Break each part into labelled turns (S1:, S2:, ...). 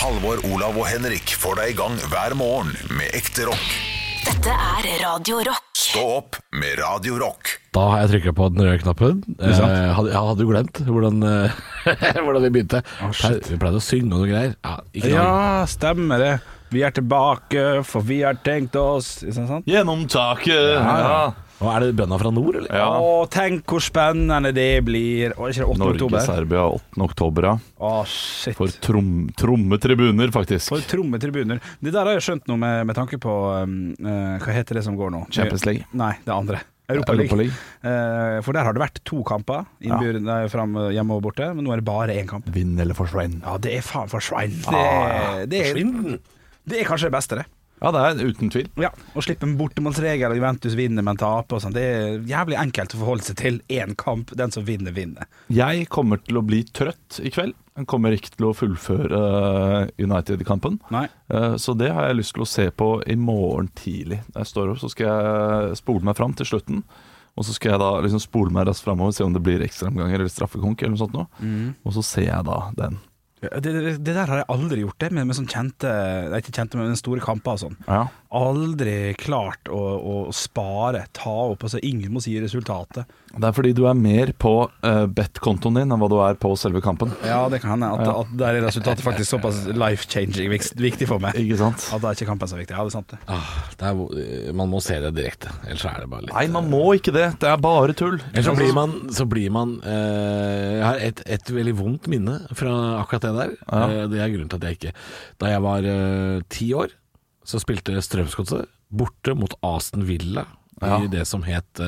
S1: Halvor, Olav og Henrik får deg i gang hver morgen med ekte rock.
S2: Dette er Radio Rock.
S1: Stå opp med Radio Rock.
S3: Da har jeg trykka på den røde knappen. Jeg
S4: sant?
S3: hadde, jeg hadde jo glemt hvordan, eh, hvordan vi begynte.
S4: shit.
S3: vi pleide å synge og noe greier. Ja, ikke noe.
S4: Ja, stemmer det. Vi er tilbake, for vi har tenkt oss Ikke sant?
S5: Gjennom taket. Ja.
S3: Og Er det bønda fra nord, eller?
S5: Ja.
S4: Å, tenk hvor spennende det blir. Å, ikke det 8. oktober?
S5: Norge-Serbia 8. oktober, ja.
S4: Å, shit.
S5: For trom trommetribuner, faktisk.
S4: For trommetribuner. Det der har jeg skjønt noe med, med tanke på um, eh, Hva heter det som går nå?
S5: Champions League.
S4: Nei, det andre. Europa League.
S5: Europa League.
S4: Eh, for der har det vært to kamper, innbyr- nei, fram, eh, hjemme og borte, men nå er det bare én kamp.
S5: Vinn eller forsvinn.
S4: Ja, det er faen for svein. Det, det, er, det er kanskje det beste, det.
S5: Ja, det er uten tvil.
S4: Ja, Å slippe en bortemålsregel, og Juventus vinner, men taper og sånn. Det er jævlig enkelt å forholde seg til. Én kamp, den som vinner, vinner.
S5: Jeg kommer til å bli trøtt i kveld. Jeg kommer ikke til å fullføre eh, United-kampen.
S4: Nei.
S5: Eh, Så det har jeg lyst til å se på i morgen tidlig. Når jeg står opp, så skal jeg spole meg fram til slutten. Og så skal jeg da liksom spole meg raskt framover, se om det blir ekstraomganger eller straffekonk. eller noe sånt nå.
S4: Mm.
S5: Og så ser jeg da den.
S4: Det, det, det der har jeg aldri gjort, det, med, med sånn kjente nei, Ikke kjente, men store kamper og sånn.
S5: Ja.
S4: Aldri klart å, å spare, ta opp. Altså, ingen må si resultatet.
S5: Det er fordi du er mer på uh, bet-kontoen din enn hva du er på selve kampen.
S4: Ja, det kan hende at, at der er resultatet faktisk såpass life-changing viks- viktig for meg.
S5: Ikke sant?
S4: At da er ikke kampen så viktig. Ja, det er sant, det.
S3: Ah, det er, hvor- man må se det direkte, ellers er det bare litt
S5: Nei, man må ikke det. Det er bare tull.
S3: Ellers så blir man, så blir man eh, Jeg har et, et veldig vondt minne fra akkurat det der. Eh, det er grunnen til at jeg ikke Da jeg var eh, ti år, så spilte Strømsgodset borte mot Aston Villa
S5: Ja.
S3: i det som het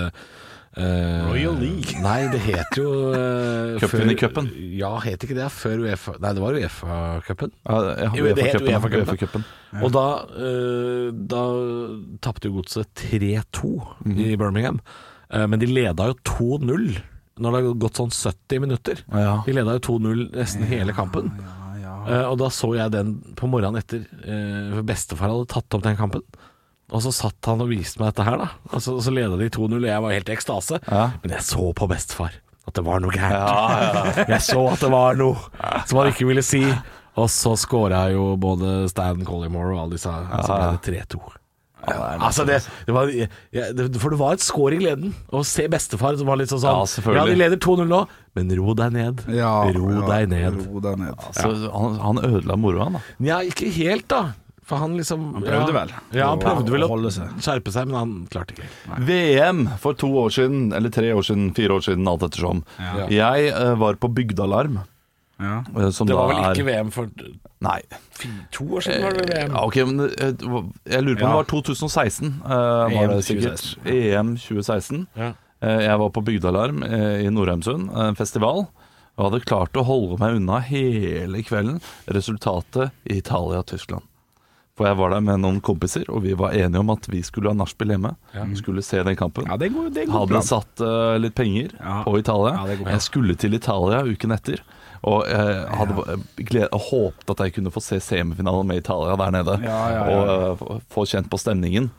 S3: Royal League? Nei, det het jo eh,
S5: Cupen i
S3: før-
S5: cupen.
S3: Ja, het ikke det før Uefa Nei, det var Uefa-cupen.
S5: Ja, jeg har
S3: Jo, det het
S5: UEFA-cupen, ja.
S3: UEFA-cupen.
S5: UEFA-cupen.
S3: Og da, eh, da tapte jo godset 3-2 i Birmingham. Eh, men de leda jo 2-0 når det har gått sånn 70 minutter.
S5: Ja.
S3: De leda jo 2-0 nesten hele kampen. Eh, og da så jeg den på morgenen etter. eh, for bestefar hadde tatt opp den kampen. Og så satt han og viste meg dette her, da. Og så, så leda de 2-0, og jeg var helt i ekstase.
S5: Ja.
S3: Men jeg så på bestefar at det var noe gærent. Jeg så at det var noe som han ikke ville si. Og så skåra jo både Stan Collymore og alle disse. og Så ble det 3-2. Altså det,
S5: sånn.
S3: det var, jeg, det, for det var et skår i gleden. Å se bestefar som var litt sånn
S5: Ja,
S3: sånn Ja,
S5: selvfølgelig.
S3: de leder 2-0 nå, men ro deg ned. ro deg ned.
S4: Ro deg ned.
S5: Så han, han ødela moroa, han, da.
S3: Nja, ikke helt, da. For han liksom Han
S4: prøvde
S3: ja,
S4: vel
S3: Ja, han
S4: å-
S3: prøvde vel
S4: å
S3: å
S4: holde seg.
S3: skjerpe seg, men han klarte ikke.
S5: VM for to år siden, eller tre år siden, fire år siden, alt ettersom.
S4: Ja.
S5: Jeg eh, var på Bygdealarm.
S4: Ja.
S5: eh, som
S3: Det var
S5: da
S3: vel
S5: er-
S3: ikke VM for
S5: Nei.
S3: to år siden? var det VM
S5: Ja, ok, men eh, det var- jeg lurer på om
S4: Ja. E
S5: det var 2016. eh, var
S4: EM
S5: det sikkert.
S4: 2016.
S5: E EM 2016.
S3: Ja.
S5: Eh, jeg var på Bygdealarm eh, i Nordheimsund, eh, en festival. Og hadde klart å holde meg unna hele kvelden. Resultatet i Italia og Tyskland. For jeg var der med noen kompiser, og vi var enige om at vi skulle ha nachspiel hjemme. Skulle se den kampen.
S4: ja, det er en god, det er en god
S5: Hadde
S4: plan.
S5: satt eh, litt penger
S4: Ja.
S5: på Italia.
S4: Ja, det går bra.
S5: jeg skulle til Italia uken etter. Og jeg hadde eh, gled- håpet at jeg kunne få se semifinalen med Italia der nede.
S4: Ja, ja, ja.
S5: Og eh, få kjent på stemningen.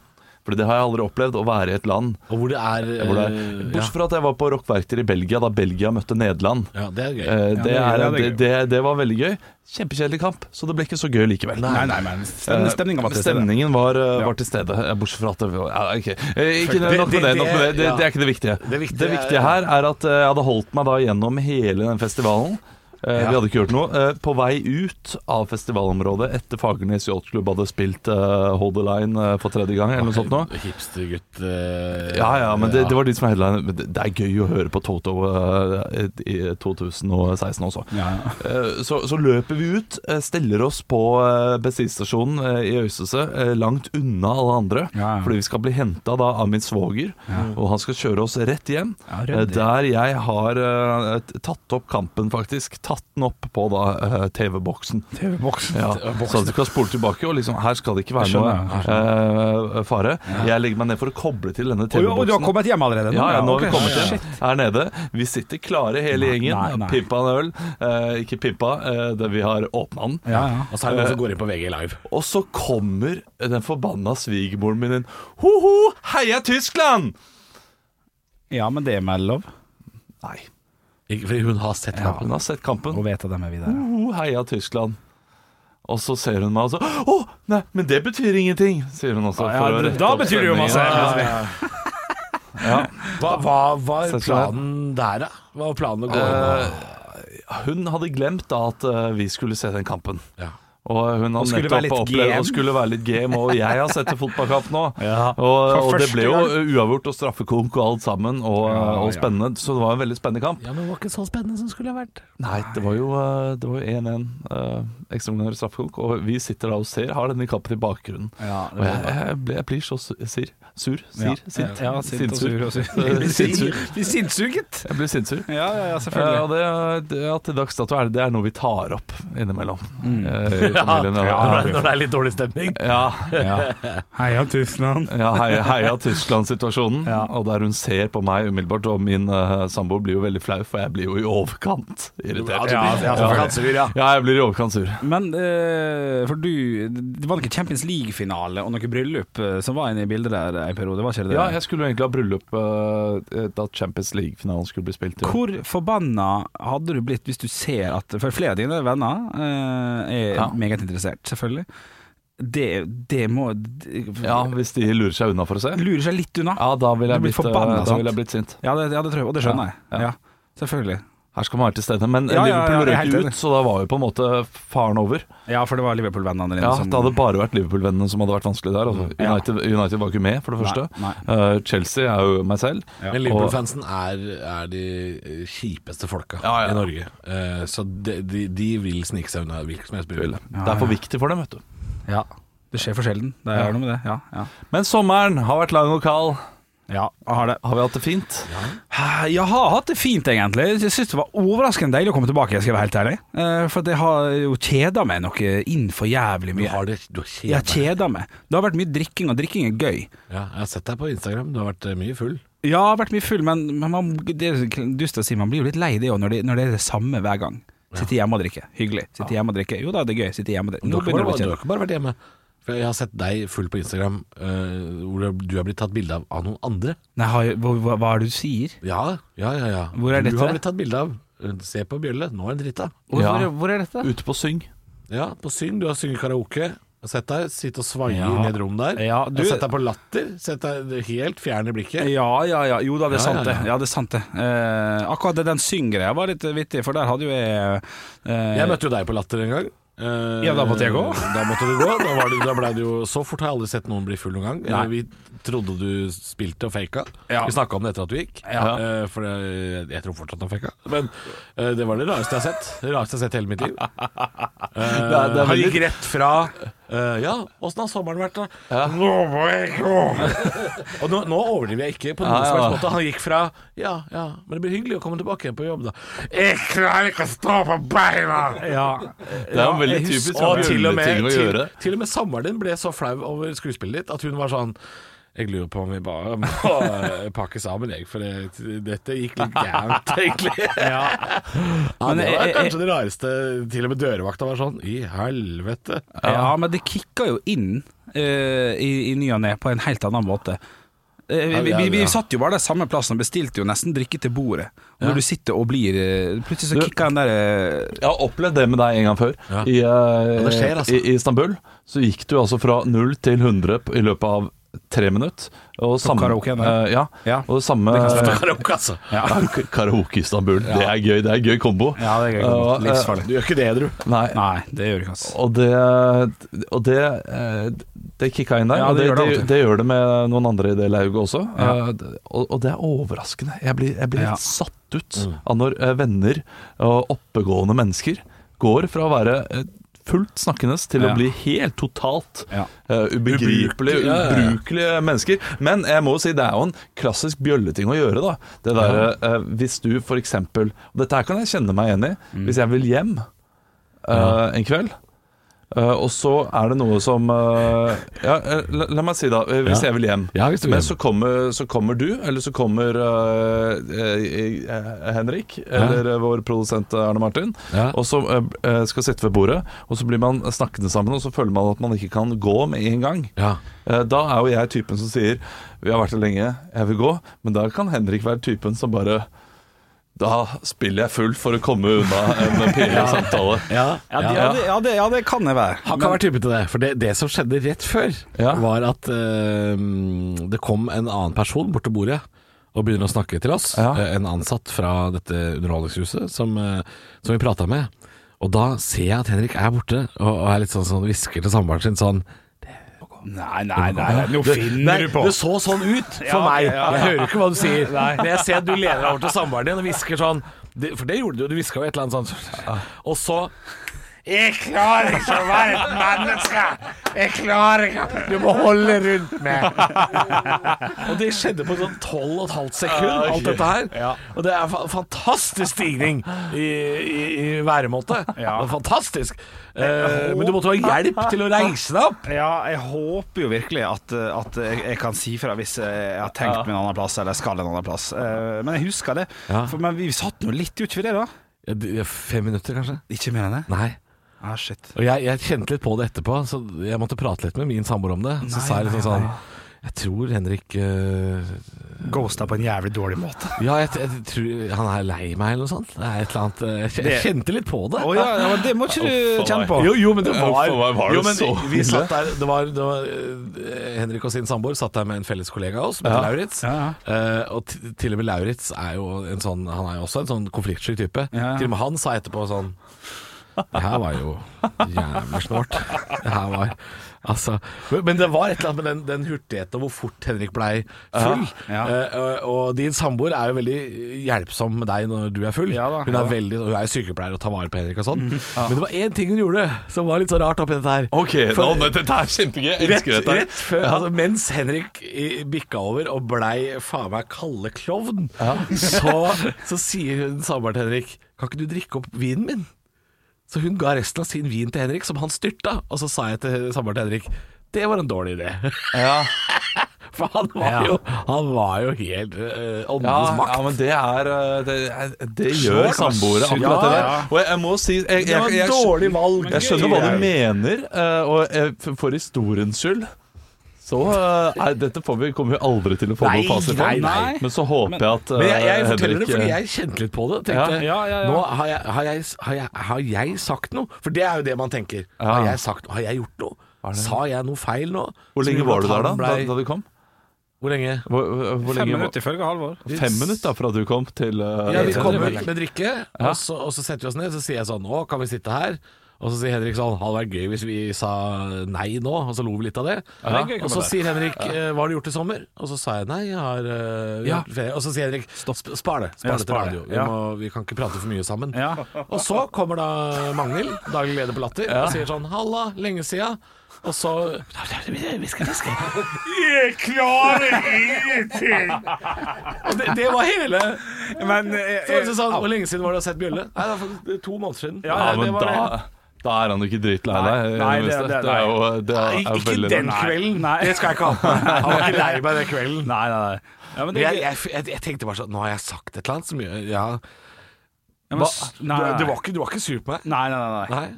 S5: For det har jeg aldri opplevd, å være i et land
S3: Og hvor det er,
S5: hvor det er
S3: eh, ja.
S5: Bortsett fra at jeg var på rockverkter i Belgia, da Belgia møtte Nederland.
S3: ja, det er gøy.
S5: Eh,
S4: Ja,
S5: det,
S4: det er
S5: er,
S4: gøy, det
S5: det,
S4: er gøy.
S5: det, det var veldig gøy. Kjempekjedelig kamp, så det ble ikke så gøy likevel.
S4: Nei, nei, men stemning, stemninga var til stede.
S5: Eh, Stemningen var, eh, var til stede, eh, bortsett fra at det var, ja, ok. Eh, Ikke
S3: Det-
S5: nok med
S3: det-
S5: det, nok med det. det,
S3: ja.
S5: det er ikke det viktige.
S3: Det viktige er-
S5: her er at eh, jeg hadde holdt meg da gjennom hele den festivalen. Eh, Vi hadde ikke gjort noe. Eh, På vei ut av festivalområdet etter Fagernes Yachtklubb hadde spilt eh, Hold the Line eh, for tredje gang, eller noe sånt nå.
S3: Hipstergutt
S5: Ja, ja, men det, det var de som var headline. Men Det det er gøy å høre på Toto eh, i 2016 også.
S4: Ja, ja.
S5: Eh, Så, så løper vi ut, eh, steller oss på eh, bensinstasjonen eh, i Øystese, eh, langt unna alle andre,
S4: Ja, ja.
S5: fordi vi skal bli henta av min svoger, og han skal kjøre oss rett hjem.
S4: Ja,
S5: eh,
S4: ryddig.
S5: der jeg har eh, t- tatt opp kampen, faktisk. Tatt den opp på da eh, TV-boksen.
S4: TV-boksen.
S5: Ja, så at du kan spole tilbake, og liksom her skal det ikke være
S4: Jeg
S5: noe
S4: skjønner, jeg
S5: eh, fare. Jeg legger meg ned for å koble til denne
S4: Og, og du har
S5: TV-boksen.
S4: kommet hjem allerede? nå?
S5: Ja, ja, nå
S4: ok.
S5: har vi kommet
S4: Shit.
S5: til her nede. Vi sitter klare hele gjengen.
S4: nei, nei.
S5: Pimpa en øl. Eh, ikke pimpa, eh, det vi har åpna den.
S4: Ja, ja.
S3: Og så er det noen som går inn på VG Live.
S5: Og så kommer den forbanna svigermoren min inn. Ho-ho, heia Tyskland!
S4: ja, men det er mellom.
S5: Nei,
S3: Ikke fordi hun har sett
S5: hun har sett kampen.
S4: Mm. Og vet at de er videre.
S5: Ho-ho, heia Tyskland. Og så ser hun meg og så Å, nei, men det betyr ingenting, sier hun også.
S4: Ja,
S5: for å
S4: men
S5: rette
S4: da
S5: opp
S4: betyr det jo
S5: stemningen.
S4: masse.
S5: Ja, ja, ja.
S3: Hva, hva var
S5: Sett sånn.
S3: planen der, da? Hva var planen å gå inn og
S5: Eh, hun hadde glemt da at eh, vi skulle se den kampen.
S3: Ja.
S5: Og hun har
S4: skulle være litt
S5: nettopp opplevd
S4: GM.
S5: og skulle være litt game, og jeg har sett en fotballkamp nå.
S4: Ja.
S5: Og, og
S4: For
S5: det
S4: første
S5: ble jo uavgjort og straffekonk og alt sammen, og,
S4: Ja,
S5: og
S4: ja.
S5: spennende. Så det var en veldig spennende kamp.
S3: Ja, men det var ikke så spennende som skulle ha vært.
S5: Nei, det var jo eh, det var jo 1-1. eh, Ekstraomganger og straffekonk. Og vi sitter da og ser, har denne kampen i bakgrunnen.
S4: Ja, det
S5: og
S4: var
S5: jeg, jeg, ble, jeg blir så sur, sir, sur, sir,
S4: Ja.
S5: sint.
S4: Ja, sint og sur og sur.
S5: Eh, Sinnsur.
S4: Blir sinnssuget.
S5: Jeg blir sinnsur.
S4: Ja, ja, ja,
S5: Eh,
S4: selvfølgelig.
S5: og det, det at til dags dato er det, det er noe vi tar opp innimellom.
S4: Mm.
S5: eh, i familien.
S3: når, det,
S5: ja,
S3: når det er litt dårlig stemning.
S5: ja,
S4: Heia Tyskland.
S5: ja heia, heia Tyskland-situasjonen.
S4: Ja.
S5: Og der hun ser på meg umiddelbart, og min eh, samboer blir jo veldig flau, for jeg blir jo i overkant irritert.
S4: Ja, ja, selvfølgelig.
S5: Ja, jeg blir i overkant sur.
S4: Men eh, for du Det var noe Champions League-finale og noe bryllup eh, som var inne i bildet der en periode, var ikke det det?
S5: Ja, jeg skulle jo egentlig ha bryllup eh, da Champions League-finalen skulle bli spilt. i år.
S4: Hvor forbanna hadde du blitt hvis du ser at For flere av dine venner eh, er
S5: Ja.
S4: meget interessert, selvfølgelig. Det, det må det,
S5: Ja, Hvis de lurer seg unna for å se?
S4: Lurer seg litt unna.
S5: Ja, da ville
S4: Du
S5: jeg,
S4: blir
S5: blitt, eh,
S4: forbanna,
S5: da
S4: sant?
S5: ville jeg blitt sint.
S4: Ja, det, ja, det tror jeg, og det skjønner
S5: Ja, ja.
S4: jeg. Ja, selvfølgelig.
S5: Her skal man være til stede. Men eh,
S4: Ja, ja, ja,
S5: Liverpool
S4: jeg er
S5: røk
S4: helt
S5: jo
S4: enig.
S5: ut, så da var jo på en måte faren over.
S4: Ja, for det var Liverpool-vennene dine
S5: Ja,
S4: som
S5: Det hadde bare vært Liverpool-vennene som hadde vært vanskelig der. Altså.
S4: Ja.
S5: United, United var ikke med, for det
S4: Nei,
S5: første.
S4: nei.
S5: Eh, Chelsea er jo meg selv.
S3: Men Liverpool-fansen er, er de eh, kjipeste folka
S5: Ja, ja.
S3: i Norge. Eh, så de, de, de vil snike seg unna hvilken som helst bryllup.
S5: Det er for viktig for dem, vet du.
S4: Ja, det skjer for sjelden. Det er noe med det. Ja, ja.
S5: Men sommeren har vært lang og kald.
S4: ja jeg har det.
S5: Har vi hatt det fint?
S4: Jeg har hatt det fint, egentlig. Jeg syns det var overraskende deilig å komme tilbake, skal jeg være helt ærlig. Eh, For det har jo kjeda meg noe innenfor jævlig
S3: Du
S4: mye.
S3: har det du har kjeda
S4: Jeg har kjeda meg. Det har vært mye drikking, og drikking er gøy.
S3: Ja, jeg har sett deg på Instagram, du har vært eh, mye full.
S4: Ja, jeg har vært mye full, men, men man, det er dust å si, man blir jo litt lei det òg, når, det- når det er det samme hver gang. Sitte hjemme og drikke. Hyggelig. Sitte hjemme og drikke. Jo da, det er gøy. Sitte hjemme og drikke.
S3: Du
S4: Nå
S3: har, ikke
S4: begynner det å
S3: bare, du har
S4: bli kjedelig.
S3: ikke bare vært hjemme. For jeg har sett deg full på Instagram, eh, hvor du er blitt tatt bilde av av noen andre.
S4: Nei, har- hva, hva, hva er det du sier?
S3: Ja, ja, ja. ja.
S4: Hvor er
S3: du
S4: dette?
S3: har blitt tatt bilde av. Eh, Se på Bjølle, nå er han drita.
S4: Hvor,
S5: Ja.
S4: hvor, hvor er dette?
S5: Ute på Syng.
S3: Ja, på Syng, du har sunget karaoke. Jeg har Sett deg sitte og svaie
S4: Ja.
S3: i et rom der.
S4: Ja,
S3: du...
S4: du-
S3: Jeg har sett deg på Latter. Sett deg helt fjern i blikket.
S4: Ja, ja, ja. Jo da,
S3: Ja,
S4: det er sant,
S3: ja,
S4: det.
S3: ja.
S4: Ja, det er sant det. Eh, akkurat det den synggreia var litt vittig, for der hadde jo jeg eh,
S3: Jeg møtte jo deg på Latter en gang. Eh,
S4: Ja, da måtte jeg gå.
S3: Da måtte du gå. Da, var det, da ble det jo Så fort har jeg aldri sett noen bli full noen gang. Eh,
S4: Nei.
S3: Vi trodde du spilte og faka.
S4: Ja.
S3: Vi snakka om det etter at du gikk.
S4: Ja.
S3: Eh, for jeg, jeg tror fortsatt han faka. Men eh, det var det rareste jeg har sett. Det rareste jeg har sett i hele mitt liv. Eh,
S5: Det er- det er
S3: han
S5: veldig-
S3: gikk rett fra eh, Ja, åssen har sommeren vært, da? Nå må jeg gå! og nå, nå overdriver jeg ikke på noen
S5: Ja,
S3: som
S5: ja.
S3: helst måte. Han gikk fra Ja, ja, men det blir hyggelig å komme tilbake igjen på jobb, da. Jeg klarer ikke å stå på beina!
S4: Ja.
S5: Det er jo veldig
S4: jeg husker-
S5: typisk sånn
S3: Og til og, med,
S5: juleting å
S3: til,
S5: gjøre.
S3: til og med samboeren din ble så flau over skuespillet ditt at hun var sånn jeg lurer på om vi bare må eh, pakke sammen, jeg, for det, dette gikk litt gærent, egentlig. Ja.
S4: Men
S3: det var
S4: jeg- jeg-
S3: kanskje det rareste. Til og med dørvakta var sånn I helvete.
S4: Ja, men det kicker jo inn eh, i, i ny og ne på en helt annen måte. Eh, vi, vi, vi, vi satt jo bare der samme plassen og bestilte jo nesten drikke til bordet. Og når du sitter og blir eh, Plutselig så
S5: Du-
S4: kicker den der eh,
S5: Jeg har opplevd det med deg en gang før.
S3: Ja.
S5: I, eh,
S3: Ja, det skjer, altså.
S5: I, I Istanbul så gikk du altså fra 0 til 100 p- i løpet av tre minutter. Og samme,
S4: karaoke,
S5: eh,
S4: da.
S5: ja,
S4: Ja.
S5: og det samme
S3: Det var nok, altså.
S5: ja. Karaoke i Istanbul. Det er gøy. Det er gøy kombo.
S4: Ja, det er gøy.
S5: Og, eh,
S4: Livsfarlig.
S3: Du gjør ikke det, Edru.
S5: Nei,
S4: Nei, det gjør ikke, ass.
S5: Og det, og det, eh, det kicka inn der.
S4: Ja,
S5: og
S4: det
S5: det,
S4: gjør det
S5: det,
S4: alltid.
S5: det gjør det med noen andre i det lauget også. Eh, og, og det er overraskende. Jeg blir, jeg blir
S4: Ja. Mm.
S5: helt satt ut av når eh, venner og oppegående mennesker går fra å være eh, fullt snakkende til
S4: Ja.
S5: å bli helt totalt
S4: Ja.
S5: eh, ubegripelige,
S3: Ubrukelig, ja, ja, ja.
S5: ubrukelige mennesker. Men jeg må jo si det er jo en klassisk bjølleting å gjøre, da. Det der, eh, hvis du for eksempel og Dette her kan jeg kjenne meg igjen i.
S4: Mm.
S5: Hvis jeg vil hjem eh, en kveld Eh, og så er det noe som eh, ja, eh, la, la meg si da, eh, hvis
S3: Ja.
S5: jeg vil hjem
S3: Ja, hvis du vil
S5: Men
S3: hjem.
S5: så kommer, så kommer du, eller så kommer eh, eh, eh, Henrik, eller eh, vår produsent eh, Arne Martin
S3: Ja.
S5: Og så eh, eh, skal sitte ved bordet, og så blir man snakkende sammen Og så føler man at man ikke kan gå med en gang
S3: Ja.
S5: Eh, Da er jo jeg typen som sier Vi har vært her lenge, jeg vil gå Men da kan Henrik være typen som bare Da spiller jeg full for å komme unna en pinlig samtale.
S3: Ja,
S4: Ja, det, ja, det, ja, det, ja, det kan jeg være.
S3: Han kan være typen til det. For det, det som skjedde rett før,
S5: Ja.
S3: var at eh, det kom en annen person bort til bordet og begynner å snakke til oss.
S5: Ja.
S3: Eh, En ansatt fra dette underholdningshuset som, eh, som vi prata med. Og da ser jeg at Henrik er borte, og, og er litt sånn sånn hvisker til samboeren sin sånn
S4: Nei, nei, nei, nei, nå finner
S3: Nei,
S4: du på.
S3: det så sånn ut for
S4: Ja,
S3: meg.
S4: ja, ja.
S3: Jeg hører jo ikke hva du sier. Men jeg ser at du lener deg over til samboeren din og hvisker sånn det- For det gjorde du jo. Du hviska jo et eller annet sånt. Og så Jeg klarer ikke å være et menneske! Jeg klarer ikke Du må holde rundt meg. Og det skjedde på sånn 12 og et halvt sekund, alt dette her. Og det er fa- fantastisk stigning i, i, i væremåte.
S4: Ja.
S3: Det er Fantastisk. Eh, men du måtte ha hjelp til å reise deg opp.
S4: Ja, jeg håper jo virkelig at, at jeg, jeg kan si fra hvis jeg har tenkt meg en annen plass, eller skal en annen plass. Eh, Men jeg husker det.
S3: Ja.
S4: For, men vi satt nå litt uti det, da.
S3: Ja, det- Fem minutter, kanskje?
S4: Ikke mer enn det?
S3: Nei.
S4: Ah, shit.
S3: Og jeg, jeg kjente litt på det etterpå, så jeg måtte prate litt med min samboer om det. Så sa jeg liksom sånn Jeg tror Henrik eh,
S4: Ghosta på en jævlig dårlig måte.
S3: Ja, jeg, jeg tror han er lei meg eller noe sånt. Det er et eller annet eh, Jeg, kj- jeg
S4: Det-
S3: kjente litt på det.
S4: Å ja, ja, men det må ikke du
S5: Uff,
S4: kjenne på.
S5: nei.
S3: Jo, jo, men det var,
S5: For meg var det
S3: jo, men
S5: så
S3: vi
S5: ille.
S3: satt der, det var, det var eh, Henrik og sin samboer satt der med en felles kollega av oss, som
S5: Ja.
S3: heter Lauritz.
S4: Ja,
S3: Eh, og t til og med Lauritz er jo en sånn Han er jo også en sånn konfliktsky type.
S4: Ja.
S3: Til og med han sa etterpå sånn Det her var jo jævlig snålt. Det her var Altså Men men det var et eller annet med den, den hurtigheten og hvor fort Henrik blei full.
S4: Ja, ja.
S3: Eh, og, og din samboer er jo veldig hjelpsom med deg når du er full.
S4: Ja da,
S3: hun, er
S4: ja da.
S3: veldig, hun er sykepleier og tar vare på Henrik og sånn. Men det var én ting hun gjorde som var litt så rart oppi dette her.
S5: Ok,
S3: For-
S5: nå, dette er kjempegøy. Jeg
S3: Rett,
S5: elsker dette.
S3: rett før, altså, mens Henrik eh, bikka over og blei faen meg kalde klovn, så, så sier hun samboeren til Henrik Kan ikke du drikke opp vinen min? Så hun ga resten av sin vin til Henrik, som han styrta. Og så sa jeg til samboeren til Henrik det var en dårlig idé.
S5: Ja.
S3: For han var jo, han var jo helt eh,
S5: Ja,
S3: åndenes makt.
S5: ja, men det er eh, Det, er- det gjør
S4: Slår
S5: samboere
S4: kanskje.
S5: akkurat det der.
S4: Ja.
S5: Og jeg, jeg må si jeg, jeg,
S3: det var
S5: jeg,
S3: et dårlig valg.
S5: jeg skjønner hva du mener, eh, og jeg, for- for historiens skyld så eh, er, Dette får vi, kommer vi aldri til å få
S3: Nei,
S5: noen fasit på.
S3: nei, nei.
S5: Men så håper jeg at eh,
S3: Men jeg, jeg forteller
S5: Henrik
S3: det fordi
S5: eh,
S3: jeg kjente litt på det. Tenkte,
S4: Ja, ja, ja, ja.
S3: Nå har jeg, har, jeg, har, jeg, har jeg sagt noe? For det er jo det man tenker. Har
S5: Ja.
S3: jeg sagt Har jeg gjort noe? Sa jeg noe feil nå?
S5: eh, Hvor
S3: Som
S5: lenge
S3: gjorde
S5: var
S3: at
S5: du der, da?
S3: han
S5: Da,
S3: blei-
S5: da du kom?
S3: Hvor lenge?
S5: Hvor, hvor, hvor
S4: Fem
S5: lenge var-
S4: minutter ifølge Halvor.
S5: Fem minutter da, fra du kom til eh,
S3: Ja, vi
S5: til-
S3: kommer med drikke, og så, og så setter vi oss ned. Så sier jeg sånn Nå kan vi sitte her. Og så sier Henrik sånn Hadde vært gøy hvis vi sa nei nå, og så lo vi litt av det.
S5: Ja, det er gøy å
S3: og
S5: komme
S3: så sier Henrik eh, Hva har du gjort i sommer? Og så sa jeg nei, jeg har eh,
S4: Ja.
S3: vært ferie. Og så sier Henrik Stopp. Spar det. Spar det
S4: Ja,
S3: til
S4: spar det.
S3: radio. Vi,
S4: Ja.
S3: må, vi kan ikke prate for mye sammen.
S4: Ja.
S3: Og så kommer da Mangel, daglig leder på Latter, og sier sånn Halla, lenge sia. Og så Vi skal fiske.
S4: Jeg klarer ingenting!
S3: Og det, det var hele
S4: Men eh,
S3: Så var det sånn, Hvor lenge siden var det du har sett Bjølle? Nei, det er faktisk eh, to måneder siden.
S5: Ja,
S3: det
S5: men
S3: var det.
S5: da, da er han jo ikke dritlei deg. i
S4: Nei, det-
S5: minste.
S4: det-
S5: det er jo det er,
S3: Ikke,
S5: er veldig
S3: den
S5: rart.
S3: kvelden. Det skal jeg ikke ha på meg. Han var ikke lei meg den kvelden.
S4: Nei, nei, nei. Ja, men
S3: Men
S4: det,
S3: jeg, jeg, jeg, jeg tenkte bare sånn Nå har jeg sagt et eller annet som gjør ja.
S4: ja, men,
S3: Hva,
S4: s-
S3: du,
S4: nei, nei,
S3: du,
S4: nei.
S3: var ikke, du var ikke sur på meg?
S4: Nei, nei, Eh, nei.
S3: Nei? Ah.
S4: nei.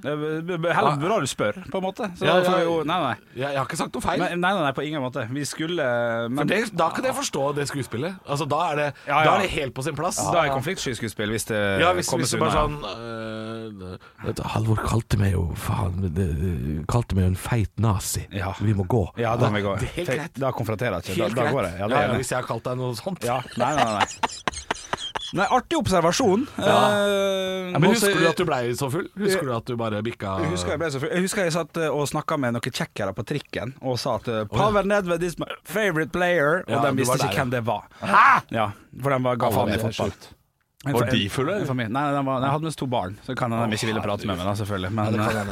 S4: Det er Heller bra du spør, på en måte. Så
S3: Ja,
S4: da får vi jo,
S3: ja.
S4: nei, nei.
S3: Jeg, jeg har ikke sagt noe feil.
S4: Men, nei, nei, nei, på ingen måte. Vi skulle eh,
S3: For
S4: men,
S3: det, da kan jeg forstå det skuespillet. Altså, da, er det,
S4: Ja, ja.
S3: da er det helt på sin plass.
S4: Da er konfliktsky skuespill, hvis det
S3: Ah. Ja, hvis,
S4: kommer
S3: hvis du
S4: unna.
S3: bare sånn øh, vet du, Halvor kalte meg jo faen det- det- Kalte meg jo en feit nazi.
S4: Ja.
S3: Vi må gå.
S4: Ja, da må vi gå.
S3: sånn- Det er helt
S4: Fe-
S3: greit.
S4: Da konfronterer jeg ikke.
S3: Helt
S4: Da, da
S3: greit.
S4: går jeg. Ja,
S3: Ja,
S4: det
S3: ja,
S4: er det.
S3: hvis jeg har kalt deg noe sånt.
S4: Ja, nei, nei, nei. Nei, artig observasjon. Eh,
S3: Men
S4: også-
S3: husker du at du blei så full? Husker du at du bare bikka
S4: Jeg husker jeg, ble så, full. jeg husker jeg satt eh, og snakka med noen tsjekkere på trikken og sa at eh, Pavel Nedved is my favorite player, og
S3: Ja,
S4: de
S3: du var
S4: visste ikke
S3: der,
S4: hvem det var. Hæ?! Ja, for de var ga faen i
S5: det er
S4: fotball. En
S5: Var
S4: fa-
S5: de fulle,
S4: en
S5: eller?
S4: familie. Nei, de var, nei, jeg hadde med oss to barn, så kan hende de ikke ville prate med meg, da, selvfølgelig. Men eh,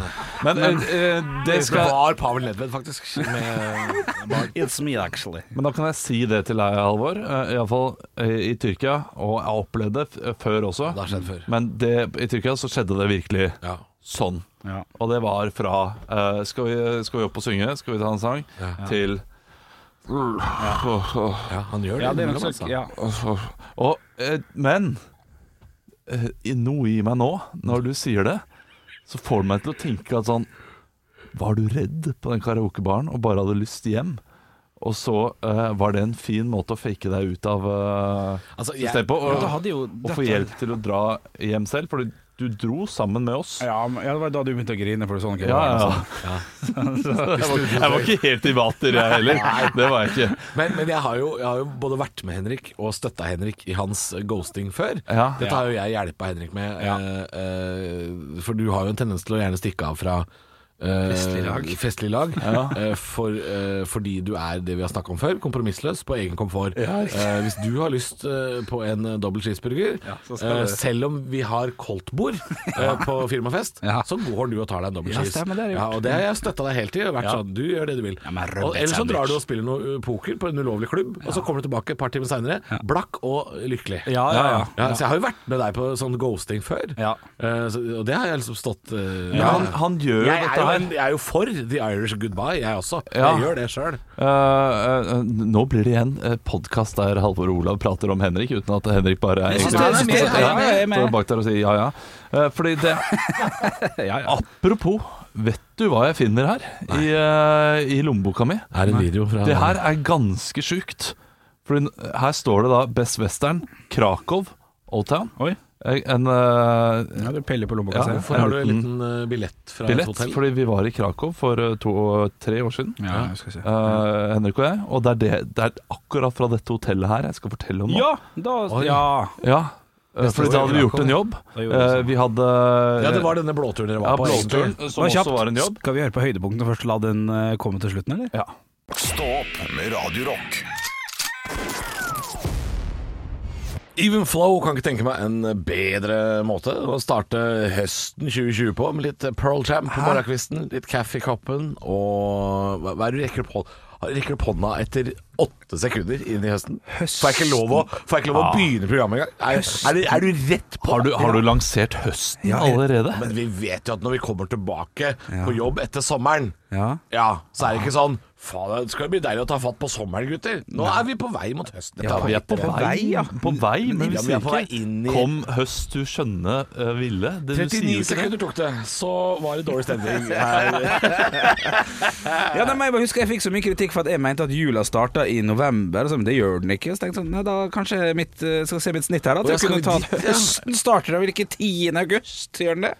S5: Men eh, det
S3: Det
S5: skal
S3: var Pavel Nedved, faktisk. Med
S4: eh, it's me, actually.
S5: men da kan jeg si det til deg, Halvor. eh, i alle fall eh, i Tyrkia, og jeg har opplevd det f- eh, før også.
S3: Det har skjedd før.
S5: Men det, i Tyrkia så skjedde det virkelig sånn.
S4: Ja.
S5: Og det var fra eh, skal, vi, skal vi opp og synge? Skal vi ta en sang? Til Åh, åh.
S3: ja, han gjør det.
S4: Ja, det er
S3: innimellom,
S4: nok
S3: altså.
S4: så, ja.
S5: Altså, og, eh, men eh, i- noe i meg nå, når du sier det, så får det meg til å tenke at sånn Var du redd på den karaokebaren og bare hadde lyst hjem? Og så eh, var det en fin måte å fake deg ut av uh,
S3: Altså, jeg-
S5: systemet på.
S4: Ja, da hadde
S5: Og,
S4: jo
S5: og få
S4: dette-
S5: hjelp til å dra hjem selv, Fordi du dro sammen med oss.
S4: Ja, men- ja, det var da du begynte å grine, for du så noe.
S5: Ja, ja, ja. Jeg var, jeg var ikke helt i vater, jeg heller. Det var jeg ikke.
S3: Men, men jeg, har jo, jeg har jo både vært med Henrik og støtta Henrik i hans eh, ghosting før.
S5: Ja.
S3: Dette har jo jeg hjelpa Henrik med,
S4: Ja.
S3: eh, eh, for du har jo en tendens til å gjerne stikke av fra eh,
S4: Festlig lag.
S3: festlig lag, eh, for, eh, fordi du er det vi har snakka om før, kompromissløs på egen komfort. Eh, hvis du har lyst eh, på en eh, dobbel cheeseburger,
S4: så skal
S3: eh,
S4: du-
S3: selv om vi har koldtbord eh, på firmafest,
S4: Ja.
S3: så går du og tar deg en dobbel
S4: Ja,
S3: cheese.
S4: stemmer, det har jeg
S3: Ja,
S4: gjort.
S3: og det har jeg støtta deg helt i. og Vært
S4: Ja.
S3: sånn, du gjør det du vil.
S4: Ja, men rødbet
S3: og, eller så
S4: sandwich.
S3: drar du og spiller noe uh, poker på en ulovlig klubb, og så kommer du tilbake et par timer seinere, blakk og lykkelig.
S4: Ja, ja, ja.
S3: Så jeg har jo vært med deg på sånn ghosting før,
S4: Ja.
S3: Eh, så, og det har jeg liksom stått uh,
S5: Men han, han gjør jo
S3: jeg, er
S5: dette
S3: jo,
S5: her.
S3: en- jeg er jo for The Irish Goodbye, jeg også.
S5: Ja.
S3: Jeg gjør det sjøl.
S5: Eh, eh, nå blir det igjen uh, podkast der Halvor Olav prater om Henrik, uten at Henrik bare er
S4: Jeg synes det er
S5: egentlig-
S4: mer-
S5: Står-
S4: ja, jeg er med.
S5: Står bak der og sier ja, ja. Eh, fordi det
S4: ja, ja.
S5: Apropos, vet du hva jeg finner her i, eh, i lommeboka mi?
S3: Her er en video fra
S5: Det her er ganske sjukt. Fordi n- her står det da Best Western, Krakow, Old Town.
S4: Oi.
S5: Eh, En eh,
S4: Ja, du peller på lommeboka,
S5: Ja,
S4: ser jeg.
S5: hvorfor?
S3: Her har du en liten eh, billett fra et
S5: billett,
S3: hotell.
S5: fordi vi var i Krakow for eh, to, tre år siden.
S4: Ja, jeg skal se.
S5: Eh, Henrik og jeg. Og det er, det, det er akkurat fra dette hotellet her jeg skal fortelle om nå.
S4: Ja, da Ja.
S5: Ja, eh, fordi da hadde vi gjort en jobb.
S4: Da gjorde vi det
S5: Eh, Vi hadde
S3: Ja, det var denne blåturen dere var
S5: ja,
S3: på.
S5: blåturen,
S3: egentlig.
S5: som
S4: Det var
S5: også var en jobb.
S4: Skal vi høre på høydepunktene først og la den eh, komme til slutten, eller?
S5: Ja.
S1: Stå opp med Radio Rock.
S3: Even Flow kan ikke tenke meg en bedre måte å starte høsten 2020 på, med litt Pearl Jam på morgenkvisten, litt kaffe i koppen og Hva hva er det du rekker opp hånden? Rekker opp hånda etter åtte sekunder inn i høsten? Får jeg ikke lov å, får jeg ikke lov å begynne programmet engang? Er, er, du- er du rett på?
S5: Ah. Har, du, har du lansert høsten allerede?
S3: Men vi vet jo at når vi kommer tilbake på jobb etter sommeren,
S4: Ja.
S3: så er det ikke sånn Faen, det skal bli deilig å ta fatt på sommeren, gutter. Nå er vi på vei mot høsten. Dette
S5: Ja,
S3: har
S5: vi er på
S3: etter-
S5: vei,
S4: ja.
S5: på vei men vi
S3: Ja, men vi
S5: sier
S3: er på vei inn i-
S5: ikke 'kom høst, du skjønne eh, ville'. Det, du
S3: 39
S5: sier jo ikke det.
S3: sekunder tok det, så var det dårlig stemning. Her.
S4: Ja, nei, men jeg bare husker jeg fikk så mye kritikk for at jeg mente at jula starta i november. og Så, men det gjør den ikke. Så tenkte jeg sånn, nei, da kanskje mitt, eh, skal jeg se mitt snitt her. At
S3: Å, ja,
S4: jeg
S3: skal
S4: kunne
S3: vi
S4: ta
S3: dit,
S4: at
S3: ja.
S4: høsten starter da vel ikke 10. august, gjør den det?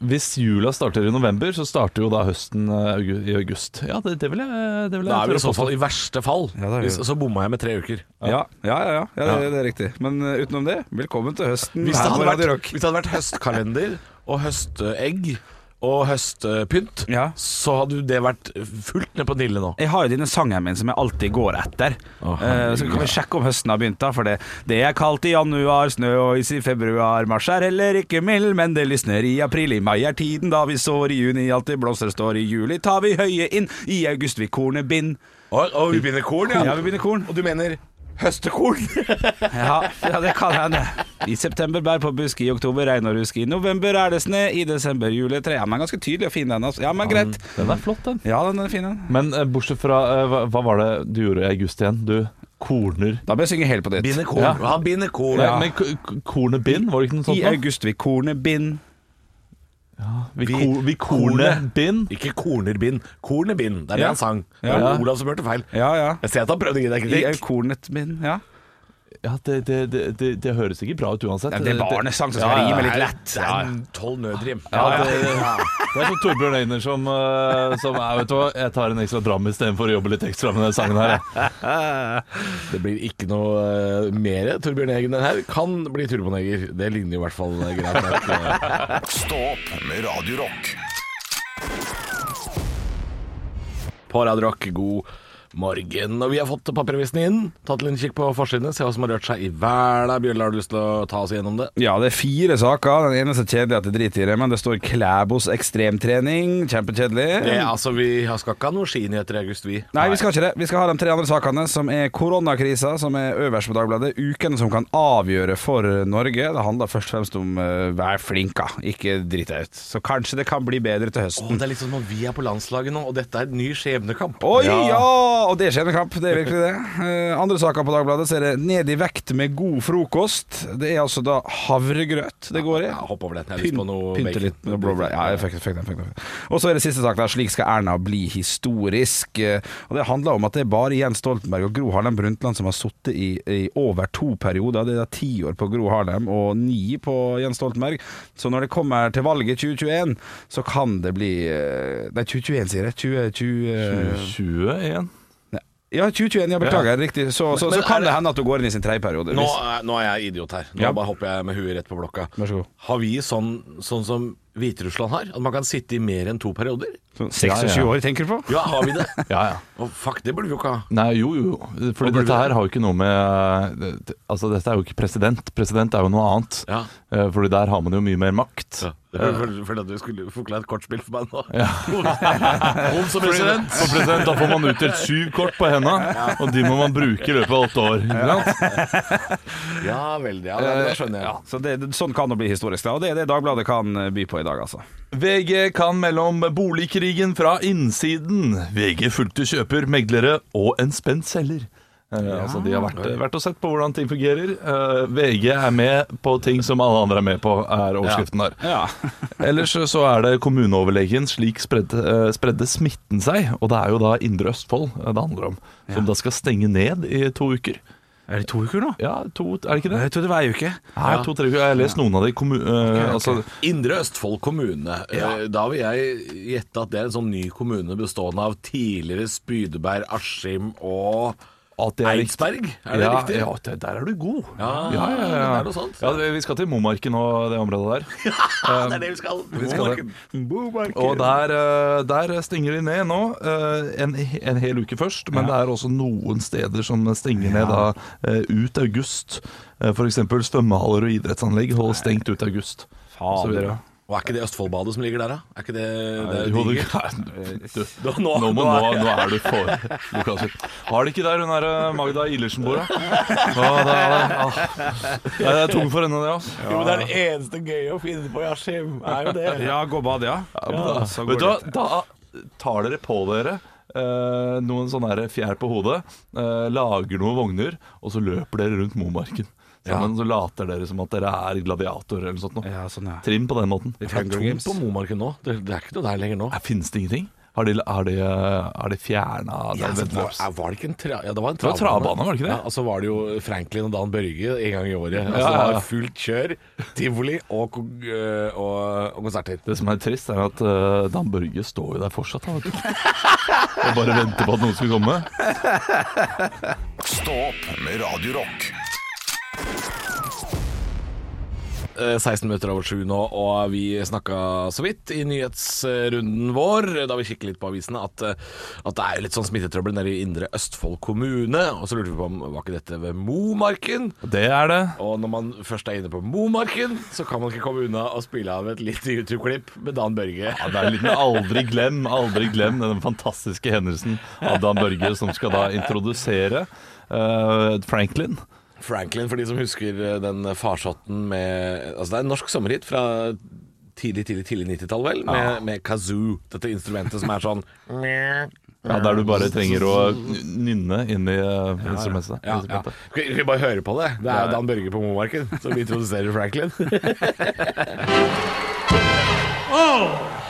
S5: Hvis jula starter i november, så starter jo da høsten eh, augu- i august. Ja, det, det vil jeg, eh, det vil jeg
S3: Da er vi sånn i
S5: tørre
S3: så
S5: påstå.
S3: fall i verste fall.
S4: Ja, da er vi-
S3: Hvis, så bomma jeg med tre uker.
S4: Ja, ja, ja. ja, ja det, det er riktig. Men eh, utenom det, velkommen til høsten.
S3: Hvis det
S4: her på
S3: hadde
S4: Radio
S3: vært,
S4: Rock.
S3: hvis det hadde vært høstkalender og høstegg og høstpynt,
S4: Ja.
S3: så hadde det vært fullt ned på Nille nå.
S4: Jeg har jo denne sangen min som jeg alltid går etter. Eh, så kan vi sjekke om høsten har begynt, da. For det, det er kaldt i januar, snø og is i februar. Mars er heller ikke mild, men det lysner i april. I mai er tiden da vi sår. I juni alltid blomster står. I juli tar vi høye inn. I august vi kornet bind.
S3: Og, og vi begynner korn,
S4: Ja, vi begynner korn.
S3: Og du mener høstekorn?
S4: Ja, ja, det kan hende. I september bær på busk, i oktober regn og rusk. I november er det snø, i desember juletre. Ja, men ganske tydelig og fin den, altså. Ja, men greit.
S3: Mm.
S5: Den er flott, den.
S4: Ja, den er fin, den.
S5: Men eh, bortsett fra eh, hva, hva var det du gjorde i august igjen? Du korner
S4: Da bør jeg synge helt på ditt.
S3: Binder korn.
S5: Ja.
S3: Han binder korn.
S5: Nei, Men k- k- kornet bind, var det ikke
S4: I
S5: noe sånt? da?
S4: august vi kornet bind.
S5: Vi,
S3: Vi-
S5: ko, vi kornet
S3: kornet.
S5: bind.
S3: Ikke kornerbind. Kornerbind, det er det
S4: Ja.
S3: han sang. Det
S4: Ja.
S3: var Olav som hørte feil.
S4: Ja, ja.
S3: Jeg ser at han prøvde å gi deg
S4: I
S3: kritikk.
S4: kornet min, ja.
S5: Ja, det, det, det, det, det høres ikke bra ut uansett.
S4: det er barnesang, så skal
S5: Ja, ja,
S4: rime
S5: ja.
S4: litt lett.
S3: Det er en tolv nødrim.
S5: Ja, det, det er som Torbjørn Øyner som, eh, som er, vet du hva, jeg tar en ekstra dram istedenfor å jobbe litt ekstra med den sangen her. jeg.
S3: Det blir ikke noe uh, mer Torbjørn Eggen den her. Kan bli turboneger. Det ligner jo i hvert fall eh, greit nok. eh.
S1: Stå opp med Radio Rock.
S3: På Radio Rock, god morgen. Og vi har fått papiravisen inn. Tatt en kikk på forsidene, se hva som har rørt seg i verden. Bjørn, har du lyst til å ta oss gjennom det?
S4: Ja, det er fire saker. Den eneste kjedelige at jeg driter i det, men det står Klæbos ekstremtrening. Kjempekjedelig.
S3: det altså, vi har- skal ikke ha noen skinyheter i august, vi.
S4: Nei, vi skal ikke det. Vi skal ha de tre andre sakene, som er koronakrisa, som er øverst på Dagbladet. Ukene som kan avgjøre for Norge. Det handler først og fremst om uh, vær flinka, ikke drit deg ut. Så kanskje det kan bli bedre til
S3: Å,
S4: høsten.
S3: det er litt sånn at vi er på landslaget nå, og dette er en ny skjebnekamp.
S4: Oi, ja! og det er skjebnekamp. Det er virkelig det. Eh, andre saker på Dagbladet så er det 'Ned i vekt med god frokost'. Det er altså da havregrøt det går i.
S3: Ja, hopp over den. Jeg har lyst på noe
S4: Pynte
S3: bacon.
S4: litt med blåbær. Ja, jeg fikk den, fikk den, fikk den. Og så er det siste sak der. 'Slik skal Erna bli historisk'. Eh, Og Det handler om at det er bare Jens Stoltenberg og Gro Harlem Brundtland som har sittet i, i over to perioder. Det er da ti år på Gro Harlem og ni på Jens Stoltenberg. Så når det kommer til valget 2021, så kan det bli eh, Nei, 2021 sier jeg. 20, 20, eh,
S5: 21.
S4: Nei. Ja, 2021, ja, beklager, riktig. Så, så,
S3: Men
S4: så
S3: er
S4: kan
S3: det-
S4: det hende at du går inn i sin tredje periode.
S3: Nå,
S4: hvis-
S3: er- nå er jeg idiot her. Nå
S4: Ja.
S3: bare hopper jeg med huet rett på blokka.
S4: Vær så god.
S3: Har vi sånn, sånn som Hviterussland har? At man kan sitte i mer enn to perioder?
S4: Sånn 26
S5: Ja, ja.
S4: år, tenker du på?
S3: Ja, har vi det?
S5: Ja, ja.
S3: Å, fuck, det burde vi jo ikke ha.
S5: Nei, jo, jo.
S3: burde
S5: Fordi dette
S3: det?
S5: her har jo ikke noe med det- det- Altså, dette er jo ikke president. President er jo noe annet.
S3: Ja.
S5: Eh, Fordi der har man jo mye mer makt.
S3: Det var vel- Fordi at du skulle forklare et kortspill for meg nå. Om som president.
S5: For president, da får man utdelt syv kort på henda, og de må man bruke i løpet av åtte år. Ikke sant?
S3: Ja vel, ja. Det, det skjønner jeg.
S4: Så det, det- sånn kan det bli historisk, da. Og det er det Dagbladet kan eh, by på i dag, altså.
S5: VG kan mellom boligkrigen fra innsiden. VG fulgte kjøper, meglere og en spent selger. Eh, altså, de har vært, vært og sett på hvordan ting fungerer. Eh, VG er med på ting som alle andre er med på, er overskriften der.
S4: Ja.
S5: Ellers så er det kommuneoverlegen slik spredde, eh, spredde smitten seg, og det er jo da Indre Østfold eh, det handler om, som da skal stenge ned i to uker.
S4: Er det to uker nå?
S5: Ja, to, er det ikke det?
S4: Jeg trodde det var ei uke.
S5: Nei, to-tre uker. Jeg har lest noen av de kommu... eh, altså,
S3: Indre Østfold kommune. Eh, Da vil jeg gjette at det er en sånn ny kommune bestående av tidligere Spydeberg, Askim og
S5: at det er riktig.
S3: Eidsberg. Er det
S5: ja,
S3: riktig?
S5: Ja, det- der er du god.
S3: Ja, det er noe sånt.
S5: Ja, vi skal til Momarken og det området der.
S3: Ah, det er det vi skal.
S5: Vi skal det. Og
S4: Og da
S5: der, eh, der stenger de ned nå, eh, en, en hel uke først. Men det er også noen steder som stenger ned da, eh, ut august. F.eks. svømmehaller og idrettsanlegg holder stengt ut august.
S4: Faen,
S5: Og så videre. Eh,
S4: bra.
S3: Og er ikke det Østfoldbadet som ligger der, da? Er ikke det, det er
S5: Jo, du,
S3: digert?
S5: du,
S3: Nå-
S5: nå,
S3: nå-
S5: må, nå,
S3: nå
S5: nå er du for Lukas. Har de ikke der hun der eh, Magda Ilersen bor, da? Å, det er- ah. Det er tungt for henne, det. altså.
S6: Jo, det er det eneste gøye å finne på i Askim. Er jo det.
S4: Ja, gå og bad, ja.
S5: Ja,
S4: så går
S5: Vet du hva, da tar dere på dere eh, noen sånne her fjær på hodet, eh, lager noen vogner, og så løper dere rundt Momarken. Sammen så later dere som at dere er gladiatorer eller noe sånt. nå.
S4: Ja, sånn, ja.
S5: Trim på den måten.
S4: Litt
S3: Det er
S4: Hunger
S3: tomt
S4: Games.
S3: på Momarken nå. Det, det er ikke noe der lenger nå.
S5: Her finnes det ingenting. Har de, har de, eh, har de fjerna
S3: Ja, altså,
S5: den
S3: var,
S5: veddeløpsen?
S3: er- var det ikke en tra... Ja, det var en
S5: var travbane, var det ikke det?
S3: Ja, og så var det jo Franklin og Dan Børge en gang i året. Altså,
S5: Ja, ja, ja.
S3: Det var fullt kjør, tivoli og, kon- øh, og, og konserter.
S5: Det som er trist, er at eh, Dan Børge står jo der fortsatt. Han, og bare venter på at noen skal komme.
S1: Stå opp med Radio Rock.
S3: Eh, 16 minutter over sju nå, og vi snakka så vidt i nyhetsrunden vår, da vi kikket litt på avisene, at, eh, at det er litt sånn smittetrøbbel nede i Indre Østfold kommune. Og så lurte vi på om var ikke dette ved Momarken?
S5: Det er det.
S3: Og når man først er inne på Momarken, så kan man ikke komme unna å spille av et lite YouTube-klipp med Dan Børge.
S5: Ja, det er en liten aldri glem, aldri glem den fantastiske hendelsen av Dan Børge, som skal da introdusere eh, Franklin.
S3: Franklin, for de som husker eh, den farsotten med Altså, det er en norsk sommerhit fra tidlig, tidlig, tidlig 90-tall, vel, med, med kazoo, dette instrumentet som er sånn
S5: Ja, der du bare trenger å nynne inn i eh, instrumentet.
S3: ja, ja. Skal vi- Skal vi bare høre på det? Det er Dan Børge på Momarken som introduserer Franklin.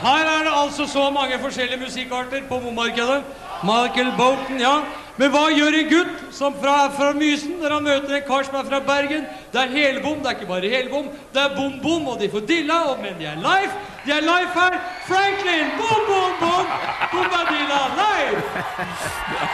S7: Her er det altså så mange forskjellige musikkarter på bommarkedet. Michael Bolton, ja. Men hva gjør en gutt som fra, er fra Mysen når han møter en kar som er fra Bergen? Det er helbom, det er ikke bare helbom, det er bom-bom, og de får dilla, og, men de er live. De er live her. Franklin, bom-bom-bom, bombadilla, live!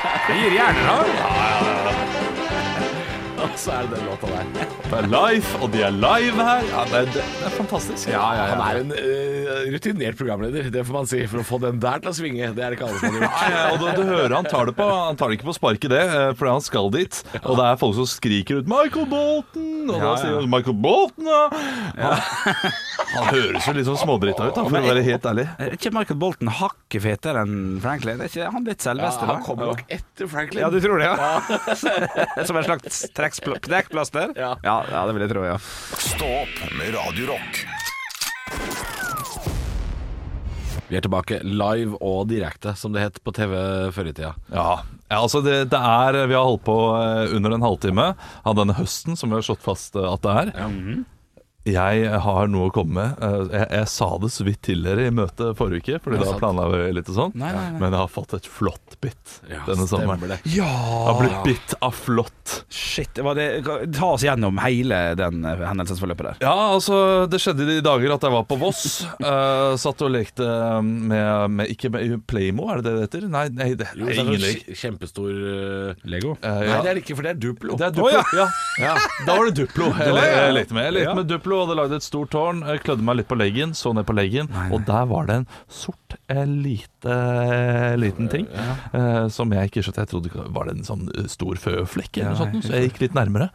S3: Og så er det den låta der.
S5: Det er live, og de er live her. Ja, det, er, det er fantastisk.
S3: Han er en eh, rutinert programleder, det får man si, for å få den der til å svinge. Det er det ikke alle som har gjort.
S5: Nei, nei, og du, du hører han tar det på Han tar det ikke på sparket, det, eh, fordi han skal dit. Og det er folk som skriker ut 'Michael Bolton!' Og da sier han 'Michael Bolton', da. Han, han høres jo litt sånn smådritta ut, da, for å være helt ærlig.
S4: Er ikke Michael Bolton hakket fetere enn Franklin? Er ikke han litt selveste, da?
S3: Han kommer nok etter Franklin.
S4: Ja, du tror det, ja? Som en slags trekkspl- trekkplaster?
S3: Ja.
S4: ja, ja, det vil jeg tro, ja.
S1: Stå opp med Radio Rock.
S3: Vi er tilbake live og direkte, som det het på TV før i tida.
S5: Ja, ja altså det, det er Vi har holdt på eh, under en halvtime av denne høsten, som vi har slått fast eh, at det er. Jeg har noe å komme med. Eh, Jeg, jeg sa det så vidt til dere i møtet forrige uke, Fordi da planla vi litt og sånn. Men jeg har fått et flott bitt
S3: Ja,
S5: denne
S3: stemmer
S5: sommeren.
S3: det.
S5: Jeg har blitt bitt av flått.
S4: Shit, var det, ta oss gjennom hele den eh, hendelsesforløpet der.
S5: Ja, altså Det skjedde i de dager at jeg var på Voss. eh, satt og lekte med, med Ikke med Playmo, er det det det heter? Nei, nei det
S3: Jo,
S5: er
S3: så er
S5: ingen
S3: det
S5: lek.
S3: en kj- kjempestor eh,
S4: Lego.
S5: Eh,
S3: Nei,
S5: ja.
S3: det er det ikke, for det er Duplo.
S5: Det er Duplo.
S4: Å,
S5: ja. Da var det Duplo jeg, le- jeg lekte med. Jeg lekte
S4: Ja.
S5: med Duplo, hadde lagd et stort tårn, eh, klødde meg litt på leggen, så ned på leggen, og der var det en sort eh, lite, liten ting eh, som jeg ikke skjønte. Jeg trodde ikke- var det en sånn eh, stor føflekk eller noe sånt, så jeg gikk litt nærmere.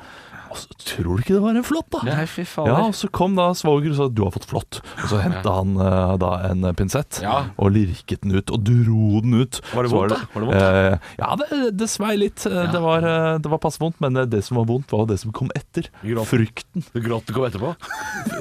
S5: Og så tror du ikke det var en flått, da?
S4: Nei, fy fader.
S5: Ja, og så kom da svoger og sa 'du har fått flått'. Og så henta han eh, da en pinsett
S3: Ja.
S5: og lirket den ut, og dro den ut.
S3: Var det
S5: Så
S3: vondt, da? Var det vondt,
S5: eh, ja, det, det svei litt. Eh, Det var, eh, det var passe vondt, men eh, det som var vondt, var jo det som kom etter.
S3: Gråten.
S5: Frykten.
S3: Du gråt det kom etterpå.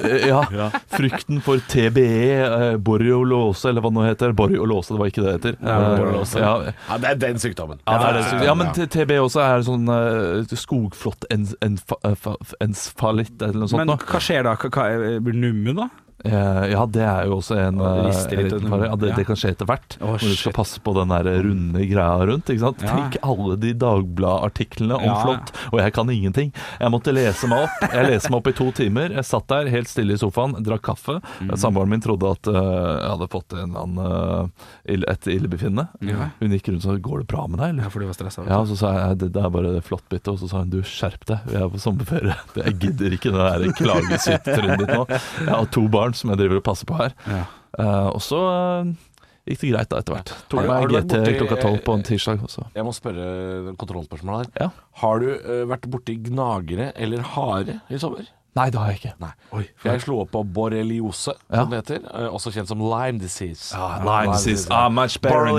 S5: Eh, ja. Frykten for TBE, eh, borreliose, eller hva det nå heter. Borreliose, det var ikke det det heter.
S3: Ja,
S5: Eh,
S3: borreliose.
S5: ja,
S3: Ja, det er den sykdommen.
S5: ja, det er det. som- ja, men TBE også er sånn uh, skogflott ens, enfa- enfa- ensfalitt eller
S3: sånn
S5: noe sånt.
S4: Men
S5: nå.
S4: hva skjer da? Hva, hva, blir nummen, da?
S5: Eh, Ja, det er jo også en
S4: Ja, det
S5: eh,
S4: rister litt
S5: liten
S4: under-
S5: fare. Ja, det,
S4: ja.
S5: det kan skje etter hvert.
S4: Å,
S5: Når du skal
S4: shit.
S5: passe på den der runde greia rundt. Ikke sant?
S4: Ja.
S5: Tenk alle de Dagblad-artiklene om
S4: Ja.
S5: flått, og jeg kan ingenting. Jeg måtte lese meg opp. Jeg leste meg opp i to timer. Jeg satt der helt stille i sofaen, drakk kaffe.
S4: Mm.
S5: Samboeren min trodde at eh, jeg hadde fått en eller annen, eh, ill- et illebefinnende.
S4: Ja.
S5: Hun gikk rundt og sa 'Går det bra med deg?' eller?
S4: for du var stressa.
S5: Ja, så sa jeg det, det er bare det flott bitte, og så sa hun du skjerp deg, vi er på sommerferie. Det- Jeg gidder ikke det der klagesytteret ditt nå. Jeg har to barn som jeg driver og passer på her.
S4: Ja.
S5: Eh, og så eh, gikk det greit da etter hvert. Tok
S3: Har
S5: meg
S3: du- har
S5: GT
S3: du vært borti-
S5: klokka tolv på en tirsdag også.
S3: Jeg må spørre kontrollspørsmålet her.
S5: Ja.
S3: Har du eh, vært borti gnagere eller hare i sommer?
S5: Nei, det har jeg ikke.
S3: Nei. For jeg slo opp på borreliose,
S5: Ja.
S3: som det heter. eh, Også kjent som Lyme disease.
S5: Ah, Lyme disease. Ah, much better in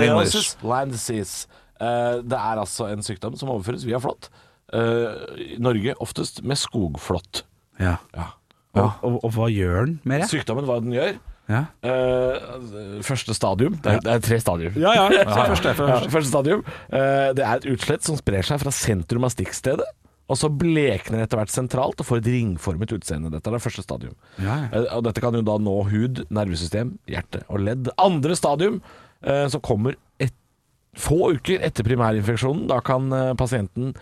S3: Borreliosis,
S5: English.
S3: Lyme disease. Eh, det er altså en sykdom som overføres via flått. Eh, i Norge oftest med skogflått.
S4: Ja.
S3: Ja.
S4: Og, og, og hva gjør den med det?
S3: Sykdommen, hva den gjør
S4: Ja.
S3: eh, Første stadium. Det er, det er tre stadier.
S4: Ja, ja, ja. Første,
S3: Ja, første stadium. Eh, det er et utslett som sprer seg fra sentrum av stikkstedet. Og så blekner det etter hvert sentralt og får et ringformet utseende. Dette er det første stadium.
S4: Ja, ja.
S3: Eh, og dette kan jo da nå hud, nervesystem, hjerte og ledd. Andre stadium, eh, som kommer et, få uker etter primærinfeksjonen, da kan eh, pasienten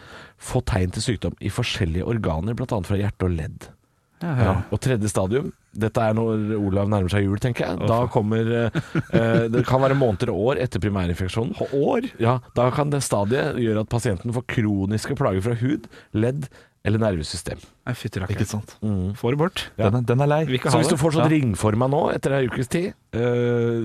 S3: få tegn til sykdom i forskjellige organer, bl.a. fra hjerte og ledd. Og tredje stadium Dette er når Olav nærmer seg jul, tenker jeg. Da kommer eh, eh, Det kan være måneder og år etter primærinfeksjonen. År? Ja, Da kan det stadiet gjøre at pasienten får kroniske plager fra hud, ledd eller nervesystem.
S4: Nei, fytti rakker.
S5: Ikke sant.
S4: Få det bort.
S5: Den, er, den er lei.
S4: Vi kan
S3: Mm. Så
S4: ha
S3: hvis du
S4: det.
S3: får sånn
S5: Ja.
S3: ringforma nå etter ei ukes tid, eh,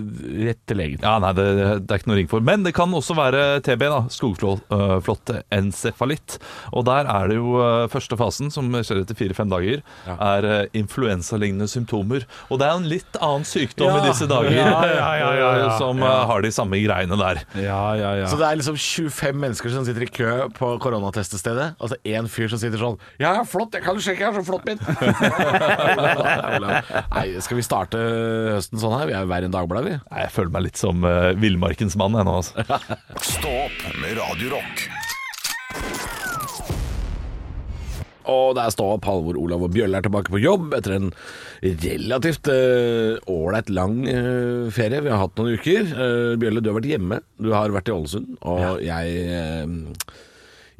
S3: rett til legen.
S5: Ja, nei, det, det er ikke noe ring for. Men det kan også være TB, da. Skogflåtte encefalitt. Og der er det jo øh, første fasen, som skjer etter fire-fem dager, er øh, influensalignende symptomer. Og det er jo en litt annen sykdom i disse dager øh, som øh, har de samme greiene der.
S4: Ja, ja, ja.
S6: Så det er liksom 25 mennesker som sitter i kø på koronatestestedet, og så én fyr som sitter sånn Ja, flott, jeg kan sjekke, jeg har så flott min.
S3: Nei, skal vi starte høsten sånn her? Vi er jo verre enn Dagbladet, vi.
S5: Nei, Jeg føler meg litt som øh, villmarkens mann jeg nå, altså.
S1: Stå opp med Radio Rock.
S3: Og det er stå opp. Halvor, Olav og Bjølle er tilbake på jobb etter en relativt eh, ålreit lang eh, ferie. Vi har hatt noen uker. Eh, Bjølle, du har vært hjemme. Du har vært i Ålesund. Og jeg eh,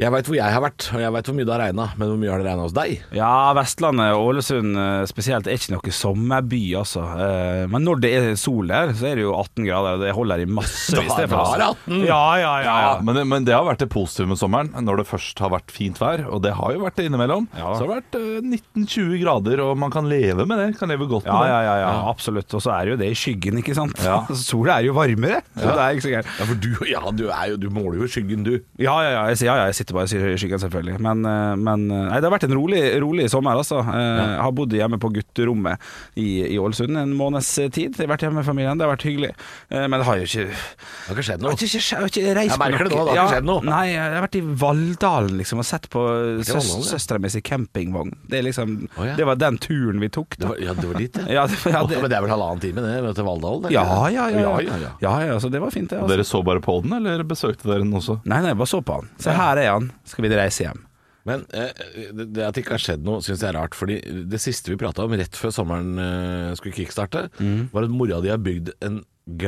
S3: Jeg veit hvor jeg har vært, og jeg veit hvor mye det har regna. Men hvor mye har det regna hos deg?
S4: Ja, Vestlandet og Ålesund eh, spesielt er ikke noe sommerby, altså. Eh, Men når det er sol her, så er det jo 18 grader, og det holder i massevis.
S3: Da-
S4: det for altså.
S3: da
S4: oss.
S3: er det 18.
S4: Ja, ja, ja. ja.
S5: Men, det- men det har vært det positive med sommeren, når det først har vært fint vær. Og det har jo vært det innimellom.
S4: Ja.
S5: Så har det vært øh, 19-20 grader, og man kan leve med det. Kan leve godt
S4: Ja,
S5: med det.
S4: ja, ja, ja, absolutt. Og så er det jo det i skyggen, ikke sant. Sola er jo varmere, så det er ikke så gærent.
S3: Ja, for du, ja, du, er jo, du måler jo i skyggen, du.
S4: Ja, ja, ja, jeg, sier- ja, ja, jeg sitter bare og sier skyggen, selvfølgelig. Men, eh, men eh, nei, det har vært en rolig, rolig sommer, altså. Eh, Jeg har bodd hjemme på gutterommet i, i Ålesund en måneds tid. Jeg har vært hjemme med familien, det har vært hyggelig. Eh, Men det har jo ikke Det
S3: har ikke skjedd
S4: har
S3: noe.
S4: ikke, skje- jeg har ikke reist
S3: Jeg merker det nå, det har ikke skjedd noe.
S4: Nei, jeg har vært i Valldalen liksom og sett på søs,
S3: Valldalen, ja.
S4: søstera mi sin campingvogn. Det, er liksom,
S3: Å, ja.
S4: det var den turen vi tok.
S3: Det
S4: Da.
S3: var, ja, det var dit, ja.
S4: Ja, det, ja,
S3: Åh,
S4: det,
S3: men det er vel halvannen time det, vet du, til Valldalen? eller?
S4: ja, ja,
S3: ja,
S4: ja, ja,
S3: ja, ja.
S4: ja, ja, så det var fint, det.
S5: Og
S4: Altså.
S5: Dere så bare på den, eller besøkte dere den også?
S4: Nei, nei, bare så på han. Se, her er han. Skal vi reise hjem?
S3: Men eh, det det at det ikke har skjedd noe, syns jeg er rart. Fordi det siste vi prata om rett før sommeren eh, skulle kickstarte, var at mora di har bygd en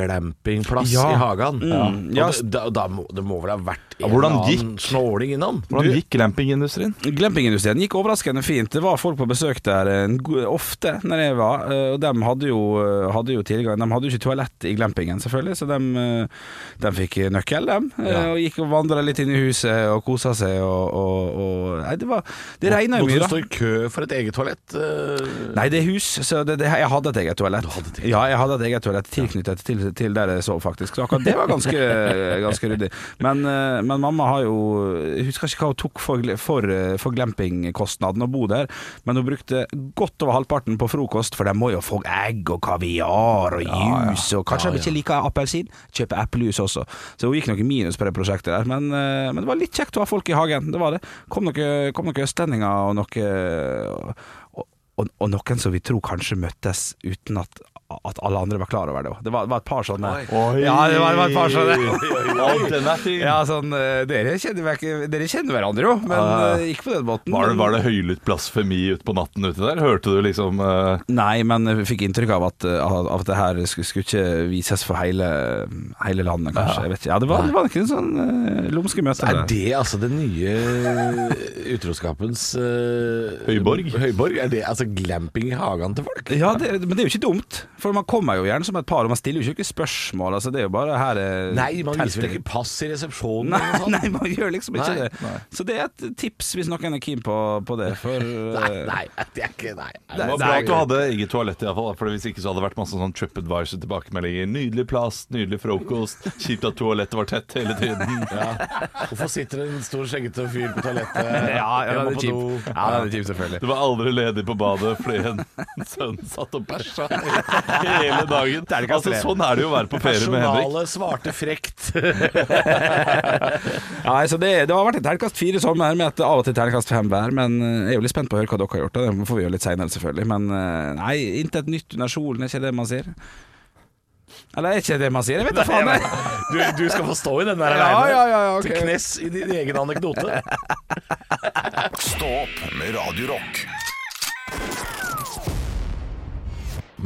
S3: glampingplass
S4: Ja.
S3: i hagen.
S4: Mm. Ja.
S3: Og det, da, da må, det må vel ha vært en
S5: hvordan
S3: eller annen
S5: gikk-
S3: snåling innom?
S5: Hvordan gikk glampingindustrien?
S4: Glampingindustrien gikk overraskende fint. Det var folk på besøk der eh, en go- ofte når jeg var, eh, og de hadde jo, eh, hadde jo tilgang. De hadde jo ikke toalett i glampingen, selvfølgelig, så de, eh, de fikk nøkkel, de. eh, Og gikk og vandra litt inn i huset og kosa seg og, og, og Nei, det var Det regna jo
S3: Måtte
S4: mye,
S3: du
S4: da.
S3: stå i kø for et eget toalett? eh,
S4: Nei, det er hus, så det, det, jeg hadde et eget toalett. Ja, jeg hadde et eget toalett tilknyttet til, til der jeg sov, faktisk. Så akkurat det var ganske, ganske ryddig. Men, eh, men mamma har jo Jeg husker ikke hva hun tok for, gle- for, eh, for glampingkostnaden å bo der, men hun brukte godt over halvparten på frokost, for de må jo få egg og kaviar og juice, og kanskje de ikke liker appelsin? Kjøpe eplejus også. Så hun gikk nok i minus på det prosjektet der, men, eh, men det var litt kjekt å ha folk i hagen. Det var det. Kom noen kom noen østlendinger og noe og, og, og noen som vi tror kanskje møttes uten at, at alle andre var klar over det. også. Det var, det var et par sånne Ja, det var, det var et par sånne
S5: Alt den er fin.
S4: ja, sånn, eh, dere, kjenner, hver- dere kjenner hverandre jo, men eh, ikke på den måten.
S5: Ah, Var det,
S4: men-
S5: var det høylytt blasfemi ute på natten ute der? Hørte du liksom eh,
S4: Nei, men jeg fikk inntrykk av at, av av at det her skulle, skulle ikke vises for hele, hele landet, kanskje. Jeg vet ikke. Ja, det var, det var ikke en sånn eh, lumske møte.
S3: Er det altså den nye eh, utroskapens eh,
S5: Høyborg?
S3: Høyborg? Er det altså glamping i hagen til folk?
S4: Ja, det, men det er jo ikke dumt. For man kommer jo gjerne som et par, og man stiller jo ikke spørsmål. Altså, det er jo bare her eh,
S3: Nei, man viser vel
S4: teltet.
S3: ikke pass i resepsjonen
S4: Nei,
S3: eller noe sånt?
S4: nei, man gjør liksom ikke
S3: Nei,
S4: det. Så det er et tips hvis noen er keen på, på det. For,
S3: Nei,
S4: eh,
S3: nei, det er ikke Nei.
S5: Det var bra at du hadde eget toalett, i hvert fall, da, for hvis ikke så hadde det vært masse sånn TripAdvisor-tilbakemeldinger. Nydelig plass, nydelig frokost. Kjipt at toalettet var tett hele tiden.
S3: Hvorfor sitter det en stor skjeggete fyr på toalettet?
S4: ja, ja,
S3: Jeg
S4: det
S3: må på
S4: er
S3: do.
S4: kjipt. Ja, det er kjipt, selvfølgelig.
S5: Det var aldri ledig på badet fordi en sønn satt og bæsja hele dagen. Altså, sånn er det jo å være på ferie med Henrik.
S3: Personalet svarte frekt.
S4: Nei, så det, det har vært et terningkast fire sommer med et av og til terningkast fem hver. Men eh, jeg er jo litt spent på å høre hva dere har gjort. og Det får vi gjøre litt seinere, selvfølgelig. Men eh, nei, intet nytt under solen, er ikke det man sier? Eller er ikke det man sier? Jeg vet da faen. jeg.
S3: Du, du skal få stå i den der
S4: Ja,
S3: alene.
S4: ja, ja, ja, ok.
S3: Til knes i din egen anekdote.
S1: Stå opp med Radio Rock.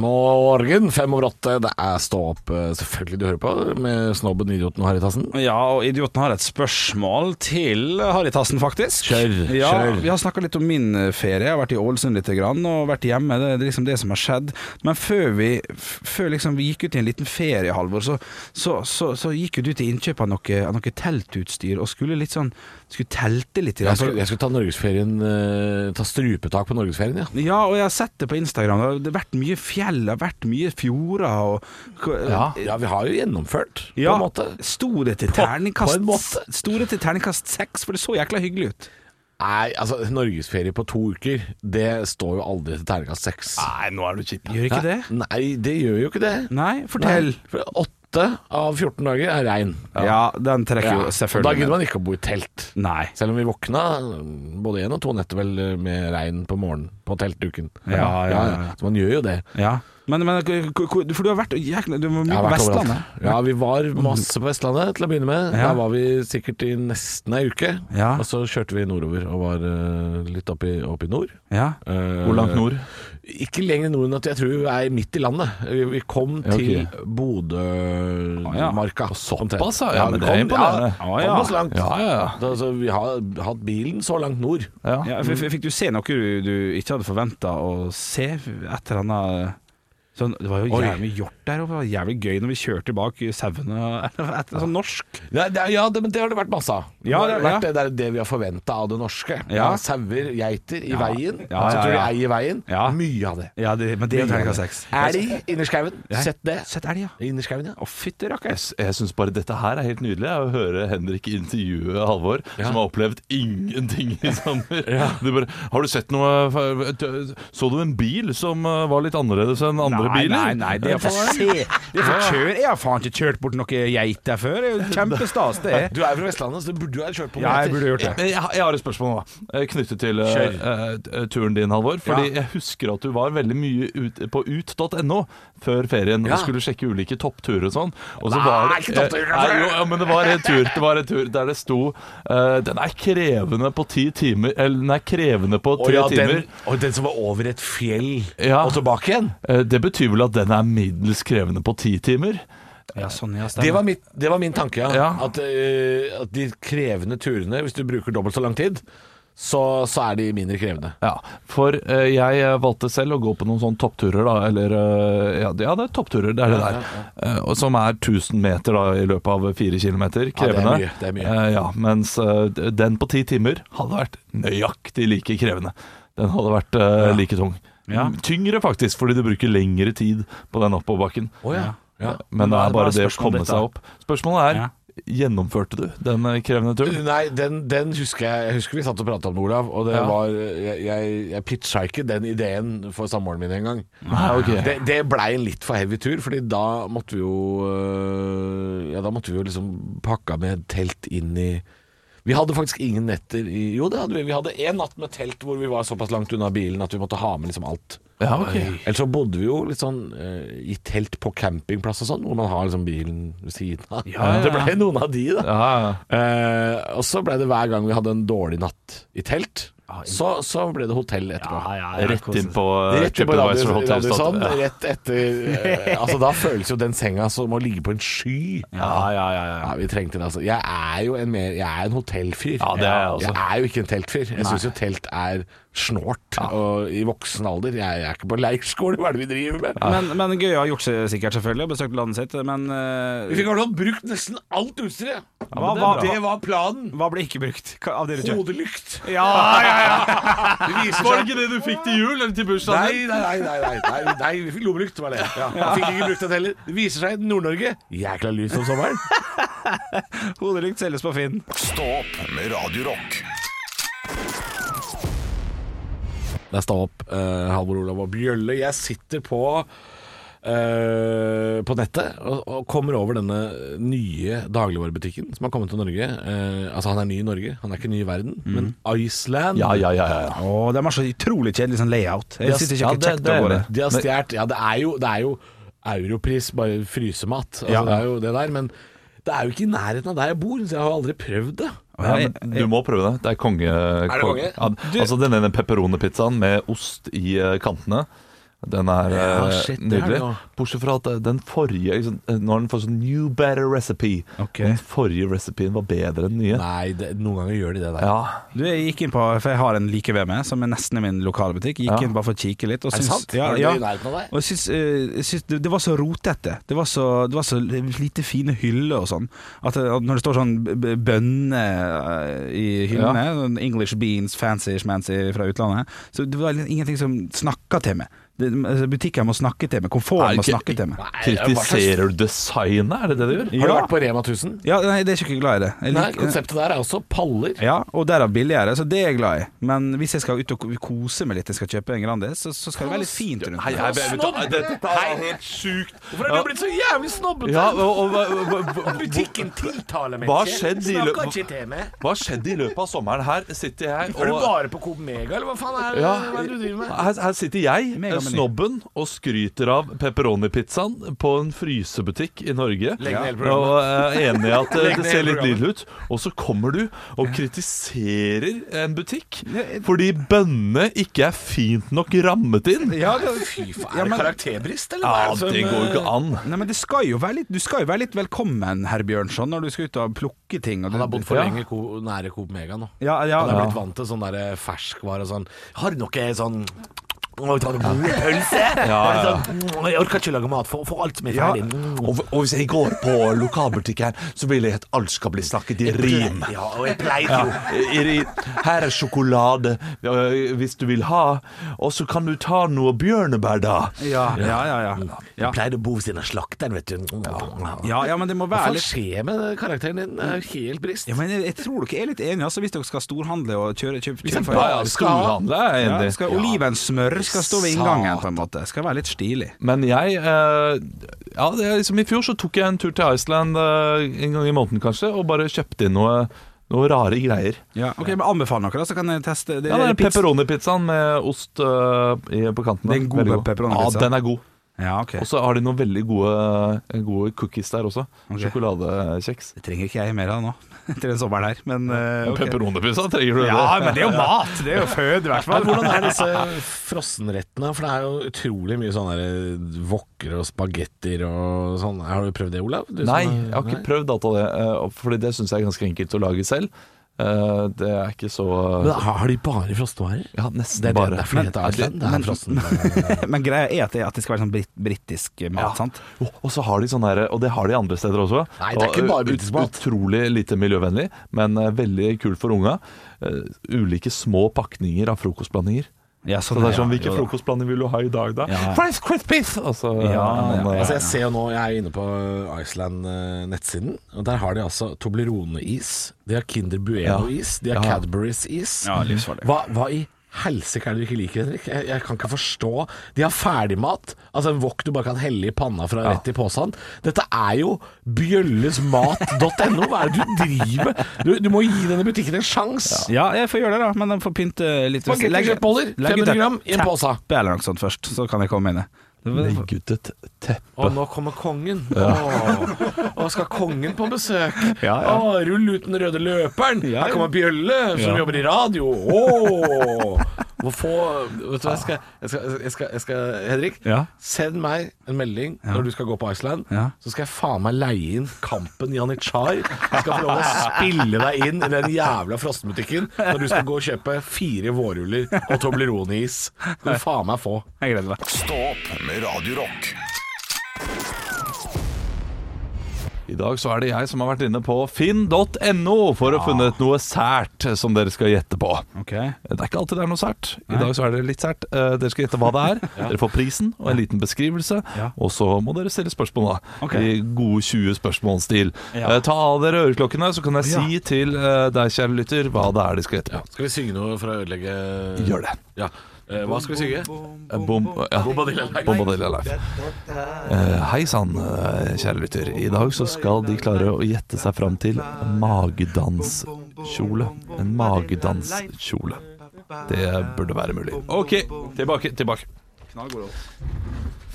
S3: Morgen fem over åtte. Det er stå opp, eh, selvfølgelig, du hører på, med snobben, idioten og Haritassen.
S4: Ja, og idioten har et spørsmål til Haritassen, faktisk.
S3: Kjør,
S4: ja,
S3: kjør.
S4: Vi har snakka litt om min eh, ferie. Jeg har vært i Ålesund litt grann, og vært hjemme. Det er liksom det som har skjedd. Men før vi, f- før liksom vi gikk ut i en liten ferie, Halvor, så, så, så, så gikk jo du til innkjøp av noe, av noe teltutstyr og skulle litt sånn Skulle telte litt. grann.
S3: Jeg skulle, jeg skulle ta norgesferien eh, Ta strupetak på norgesferien, ja.
S4: Ja, og jeg har sett det på Instagram. Det har vært mye fjell, det har vært mye fjorder og eh,
S3: Ja, vi har jo gjennomført,
S4: Ja,
S3: på en måte.
S4: Sto det til
S3: På- på
S4: terningkast
S3: en måte.
S4: Sto det til terningkast seks? For det så jækla hyggelig ut.
S3: Nei, altså, norgesferie på to uker, det står jo aldri til terningkast seks.
S5: Nei, nå er du kjipp.
S4: Gjør ikke det?
S3: Nei, det gjør jo ikke det.
S4: Nei, fortell.
S3: Nei, for Åtte av 14 dager er regn.
S4: Ja, den trekker
S3: Ja,
S4: jo
S3: og da
S4: selvfølgelig
S3: gidder man ikke å bo i telt.
S4: Nei.
S3: Selv om vi våkna mm, både én og to netter vel eh, med regn på morgenen på teltduken.
S4: Ja, ja, ja, ja.
S3: Så man gjør jo det.
S4: Ja. Men, men k- k- k- For du har vært jækla, Du var
S3: Jeg
S4: mye
S3: har
S4: på
S3: vært overalt.
S4: Vestlandet.
S3: Ja, vi var masse på Vestlandet til å begynne med.
S4: Ja.
S3: Der var vi sikkert i nesten ei uke.
S4: Ja.
S3: Og så kjørte vi nordover og var eh, litt opp i, opp i nord.
S4: Ja.
S3: Eh,
S5: Hvor langt nord?
S3: Ikke lenger nord enn at jeg tror vi er midt i landet. Vi, vi kom
S5: Ja, ok.
S3: til Bodømarka. Såpass,
S5: ja, men det er imponerende.
S3: Ja,
S4: Ja, ja.
S3: Kom oss langt.
S5: Ja, ja, ja.
S3: Da, så vi har hatt bilen så langt nord.
S4: ja f- f- fikk du se noe du, du ikke hadde forventa å se? Et eller annet Sånn, det var jo
S3: Oi.
S4: jævlig hjort der oppe. Det var Jævlig gøy når vi kjørte bak sauene. Sånn norsk.
S3: Nei, det, er- ja, det, men det har det vært masse av. Det
S4: Ja,
S3: har
S4: det-
S3: vært
S4: ja.
S3: det, der, det vi har forventa av det norske.
S4: Ja.
S3: Ja. Sauer, geiter i veien.
S4: Ja, ja,
S3: Som tror de
S4: ja.
S3: eier veien.
S4: Ja.
S3: Mye av det.
S4: Ja, det, men det er
S3: Mye
S4: jo
S3: av
S4: terningkast
S3: det.
S4: seks.
S3: Elg innerskauen. Sett det.
S4: Sett elg, ja.
S3: Innerskauen, ja.
S4: Å, fytti rakker.
S5: Jeg, jeg syns bare dette her er helt nydelig. Jeg, å høre Henrik intervjue Halvor, som har opplevd ingenting i sommer. Du bare, har du sett noe Så du en bil som eh, var litt annerledes enn andre
S4: nei,
S5: biler?
S4: Nei, nei, det er for se. Det er for kjør. Jeg har faen ikke kjørt bort noen geiter før. Det er jo kjempestas, det er.
S3: Du er fra Vestlandet, så du burde jo ha kjørt på
S4: Ja, jeg
S3: geiter.
S4: burde gjort det.
S5: Men Jeg, jeg har et spørsmål nå, eh, knyttet til eh, eh, turen din, Halvor. Fordi jeg husker at du var veldig mye ut, på ut.no før ferien og skulle sjekke ulike toppturer og sånn. Og så var,
S3: Nei, ikke toppturer, altså.
S5: eh, nei, jo, ja, men det var en tur, det var en tur der det sto eh, Den er krevende på ti timer Eller den er krevende på
S3: Og
S5: tre
S3: ja, den,
S5: timer.
S3: og den som var over et fjell
S5: Ja.
S3: og tilbake igjen.
S5: Eh, Det betyr vel at den er middels krevende på ti timer?
S4: Ja, sånn, ja,
S3: Det
S4: stemmer.
S3: var, mitt, det var min tanke, ja.
S5: Ja.
S3: At, eh, at de krevende turene, hvis du bruker dobbelt så lang tid, så, så er de mindre krevende.
S5: Ja, for eh, jeg eh, valgte selv å gå på noen sånne toppturer, da. Eller eh, ja, det- ja, det er toppturer, det er det der. Eh, og som er 1000 meter da, i løpet av fire kilometer.
S3: Ja, det er
S5: Krevende.
S3: mye, det er mye.
S5: Eh, ja, mens eh, d- den på ti timer hadde vært nøyaktig like krevende. Den hadde vært eh, like tung.
S4: Ja.
S5: Mm, Tyngre, faktisk, fordi du bruker lengre tid på den oppoverbakken.
S3: Oh, ja. Ja.
S5: Men
S4: Men
S5: det
S4: hva er
S5: er bare
S4: det
S5: det å
S4: spørsmålet
S5: komme
S4: ditt,
S5: seg
S4: da?
S5: opp. Spørsmålet er
S4: Ja.
S5: Gjennomførte du den eh, krevende turen?
S3: Nei, den, den husker jeg Jeg husker vi satt og pratet om det, Olav. Og det
S5: Ja.
S3: var Jeg, jeg, jeg pitcha ikke den ideen for samboeren min engang.
S5: Nei, ok.
S3: Det, det blei en litt for heavy tur, Fordi da måtte vi jo øh, Ja, da måtte vi jo liksom pakka med telt inn i Vi hadde faktisk ingen netter i Jo, det hadde vi. Vi hadde én natt med telt hvor vi var såpass langt unna bilen at vi måtte ha med liksom alt.
S5: Ja, ok.
S3: Ellers så bodde vi jo litt sånn øh, i telt på campingplass og sånn, hvor man har liksom bilen ved siden av.
S4: Ja, ja,
S3: Det
S4: ja.
S3: blei noen av de, da.
S5: Ja, ja.
S3: Eh, og så ble det hver gang vi hadde en dårlig natt i telt,
S5: Ah,
S3: så, så ble det hotell etterpå.
S5: Rett inn på eh,
S3: Rett på
S5: TripAdvisor
S3: Radio-
S5: Hotel
S3: Radisson,
S5: Stad. Ja.
S3: rett etter eh, Altså Da føles jo den senga som å ligge på en sky.
S4: Ja, ja, ja, ja.
S3: Ja, vi trengte det, altså. Jeg er jo en, mer, jeg er en hotellfyr.
S5: Ja, det er jeg også.
S3: Jeg er jo ikke en teltfyr. Jeg syns jo telt er snålt og i voksen alder. Jeg, jeg er ikke på leirskole, hva er det vi driver med?
S4: Men, men gøy å ha gjort seg sikkert, selvfølgelig, og besøkt landet sitt, men eh,
S3: Vi fikk i hvert fall brukt nesten alt utstyret.
S4: hva, hva,
S3: Det var planen.
S4: hva ble ikke brukt Hva- av dere kjørt?
S3: Hodelykt.
S4: Ja, ja, ja.
S3: Det viser
S5: Var
S3: seg
S5: det ikke det du fikk til jul eller til bursdagen?
S3: Nei, nei, nei, nei, nei, nei, nei vi fikk lommelykt, var det. Ja. Jeg Fikk ikke brukt den heller. Det viser seg i Nord-Norge jækla lys om sommeren.
S4: Hodelykt selges på Finn.
S1: Stå opp med Radio Rock.
S3: Der står opp eh, Halvor Olav og Bjølle. Jeg sitter på eh, på nettet og, og kommer over denne nye dagligvarebutikken som har kommet til Norge. Eh, altså, han er ny i Norge, han er ikke ny i verden, men Iceland
S5: Ja, ja, ja, ja, ja.
S4: Å, de har så utrolig kjedelig sånn layout.
S3: De
S4: Jeg
S3: har-
S4: synes ikke
S5: ja,
S4: det er kjekt å
S5: det er
S4: gå
S5: det.
S4: det.
S3: De har stjålet Ja, det er jo, det er jo europris, bare frysemat. Altså,
S4: Ja.
S3: Det er jo det der, men det er jo ikke i nærheten av der jeg bor, så jeg har jo aldri prøvd det.
S5: Ja, men du må prøve det. Det er konge... Er
S3: det konge?
S5: Ja, altså den ene pepperoni-pizzaen med ost i eh, kantene. Den er eh,
S3: Ja, shit, det er
S5: nydelig.
S3: det jo.
S5: Bortsett fra at eh, den forrige liksom, eh, Nå har den fått sånn new better recipe.
S4: Ok.
S5: Den forrige recipeen var bedre enn den nye.
S3: Nei, det, noen ganger gjør de det der.
S5: Ja.
S4: Du, jeg gikk inn på, for jeg har en like ved meg, som er nesten i min lokalbutikk. Gikk
S5: Ja.
S4: inn bare for å kikke litt. Og
S3: Er det
S4: syns-
S3: sant?
S4: Ja,
S3: Var det
S4: ja.
S3: i nærheten av deg?
S4: Og jeg syns, eh, jeg syns det, det var så rotete. Det var så, det var så lite fine hyller og sånn. At, eh, at når det står sånn b- b- bønner eh, i hyllene, sånn English beans, fancy schmancy fra utlandet, så det var liksom ingenting som snakka til meg. Det- altså, Butikken må snakke til meg, komforten må snakke til meg.
S5: Kritiserer du designet, er det det du
S3: Har du
S5: gjør?
S4: Ja.
S3: vært på Rema 1000?
S4: Ja, nei, det er ikke jeg glad i det. Jeg
S3: Nei,
S4: liker-
S3: konseptet der er også paller.
S4: Ja, og derav billigere, så det er jeg glad i. Men hvis jeg skal ut og kose meg litt, jeg skal kjøpe en Grandis, så, så skal det være litt fint rundt.
S5: Hei,
S4: meg.
S5: hei, vet du, dette er helt sjukt.
S3: Hvorfor er du blitt så jævlig snobbete?
S5: Ja, og, og, hva- hva-
S3: Butikken tiltaler meg
S5: Hva
S3: ikke.
S5: skjedde i
S3: Snakker
S5: lø-
S3: ikke til meg.
S5: hva skjedde i løpet av sommeren? Her sitter jeg
S3: Er du
S5: og
S3: bare på Coop Mega, eller hva faen er det,
S5: Ja,
S3: hva er det du driver med?
S5: her, her sitter jeg,
S4: Mega meny.
S5: snobben, og skryter av pepperoni-pizzaen på en frysebutikk i Norge.
S3: Legg ned hele programmet.
S5: Og er enig i at eh,
S3: Legg
S5: det
S3: ned
S5: ser litt
S3: programmet.
S5: nydelig ut. Og så kommer du og kritiserer en butikk fordi bønnene ikke er fint nok rammet inn.
S4: Ja, det,
S3: Fy faen,
S4: Ja,
S3: er det
S4: men-
S3: karakterbrist, eller? hva
S5: Ja,
S3: er som, eh,
S5: det går jo ikke an.
S4: Nei, men det skal jo være litt, du skal jo være litt velkommen, herr Bjørnson, når du skal ut og plukke ting. Og
S3: Han har bodd for
S4: ja.
S3: lenge ko nære Coop Mega nå.
S4: Ja, ja,
S3: Han er
S4: ja.
S3: eh, blitt vant til sånn der ferskvare og sånn. Har du noe sånn
S8: Må vi ta en god pølse?
S3: "Mm,
S8: Sånn, Jeg orker ikke å lage mat for, for alt som er
S5: Ja.
S8: ferdig.
S3: eh,
S8: Mm.
S5: Og, og hvis jeg går på lokalbutikken, så vil jeg at alt skal bli snakket i rim.
S8: Ja, og jeg pleier
S5: Ja,
S8: jo
S5: i rim. Her er sjokolade øh, hvis du vil ha, og så kan du ta noe bjørnebær da.
S4: Ja, ja, ja. ja. ja.
S8: Jeg pleide å bo ved siden av slakteren, vet du. Ja.
S4: Ja, ja, men det må
S3: Mm. Hva
S4: være litt
S3: skjer med karakteren din? Det er jo helt brist.
S4: ja, men jeg, jeg tror dere er litt enige, altså, hvis dere skal storhandle og kjøre kjøp, kjøp,
S5: Ja, ja, storhandel er jeg
S4: ja,
S5: enig i.
S4: skal Olivensmør skal stå ved inngangen, på en måte. Skal være litt stilig.
S5: Men jeg eh, Ja, det er liksom I fjor så tok jeg en tur til Iceland eh, en gang i måneden kanskje, og bare kjøpte inn noe, noe rare greier.
S4: Ja, ok, men Anbefal noe, da, så kan jeg teste. Det,
S5: Ja, det er
S4: pizza-
S5: Pepperoni-pizzaen med ost eh, i- på kanten.
S4: Det er en god
S5: Veldig
S4: pepperoni-pizza.
S5: Ja, den er god.
S4: Ja, ok.
S5: Og så har de noen veldig gode, gode cookies der også.
S4: Ok.
S5: Sjokoladekjeks.
S4: Det trenger ikke jeg mer av nå, etter den sommeren her, men eh, ok.
S5: Pepperoni-pizza trenger du
S4: Ja, men det er jo mat! Det er jo føde, i hvert
S3: Men
S4: fall.
S3: hvordan er disse frossenrettene? For det er jo utrolig mye sånne der eh, vokker og spagetter og sånn. Har du prøvd det, Olav? Du som
S5: Nei,
S3: er-
S5: jeg har
S3: Nei.
S5: ikke prøvd alt av det, eh, fordi det syns jeg er ganske enkelt å lage selv. Eh, Det er ikke så
S3: Men har har de bare frossevarer?
S5: Ja, nesten
S3: Det er
S5: bare.
S3: det, det er fordi
S5: Men-
S3: dette er Iceland. Det
S4: men-
S3: er frossen.
S4: Men greia er at det, at det skal være sånn brit britisk mat, sant?
S5: Jo, Og så har de sånn her, og det har de andre steder også.
S3: Nei, det er ikke
S5: Og, uh,
S3: bare
S5: ut-
S3: britisk mat.
S5: Utrolig lite miljøvennlig, men eh, veldig kult for unga. Eh, ulike små pakninger av frokostblandinger.
S4: Ja,
S5: Så det er sånn,
S4: ja, jo
S5: Hvilken
S4: da.
S5: frokostblanding vil du ha i dag, da?
S4: Ja.
S5: Fried Crispies! Altså,
S4: Ja,
S5: men,
S4: ja,
S5: eh,
S3: Altså jeg ser jo nå, jeg er jo inne på eh, Iceland-nettsiden, og der har de altså Toblerone-is, de har Kinder Bueno-is, de har Cadbury's-is.
S4: Ja, livsfarlig.
S3: Hva, hva i helsike er det du ikke liker, Henrik? Jeg, jeg kan ikke forstå. De har ferdigmat, altså en wok du bare kan helle i panna fra rett i posen. Dette er jo bjøllesmat.no, hva er det du driver med? Du, du må gi denne butikken en sjanse.
S4: Ja, jeg får gjøre det, da. Men den får pynte litt
S3: Spagetti og kjøttboller, 500 gram i en påse.
S4: teppe eller noe sånt først, så kan jeg komme inn i.
S5: Legg ut et teppe.
S3: Og nå kommer kongen. Åh, og skal kongen på besøk?
S4: Ja, ja.
S3: Åh, rull ut den røde løperen.
S4: Ja,
S3: Her
S4: ja.
S3: kommer Bjølle, som
S4: Ja.
S3: jobber i radio. Åh. Må få Vet du hva, jeg skal, jeg skal, jeg skal, jeg skal Henrik,
S4: Ja.
S3: send meg en melding når du skal gå på Iceland.
S4: Ja.
S3: Så skal jeg faen meg leie inn Kampen Janitsjar. Jeg skal få lov å spille deg inn i den jævla frossenbutikken når du skal gå og kjøpe fire vårruller og Toblerone-is. Skal du faen meg få.
S4: Jeg gleder meg.
S1: Stå opp med Radio Rock.
S5: I dag så er det jeg som har vært inne på finn.no for å funnet noe sært som dere skal gjette på.
S4: Ok.
S5: Det er ikke alltid det er noe sært. I dag så er det litt sært. Eh, dere skal gjette hva det er. Dere får prisen og en liten beskrivelse.
S4: Ja.
S5: Og så må dere stille spørsmål, da.
S4: Ok.
S5: I gode 20 spørsmål-stil.
S4: Ja.
S5: Eh, ta av dere øreklokkene, så kan jeg
S4: Ja.
S5: si til eh, deg, kjære lytter, hva det er de skal gjette på.
S3: Skal vi synge noe for å ødelegge
S5: Gjør det.
S3: Ja. Eh, Hva skal vi synge?
S5: Eh, Bom, ja.
S3: Bombadilla Live.
S5: Bombadilla Live. Eh, Hei sann, eh, kjære lytter. I dag så skal de klare å gjette seg fram til magedanskjole. En magedanskjole. Det burde være mulig. OK, tilbake. tilbake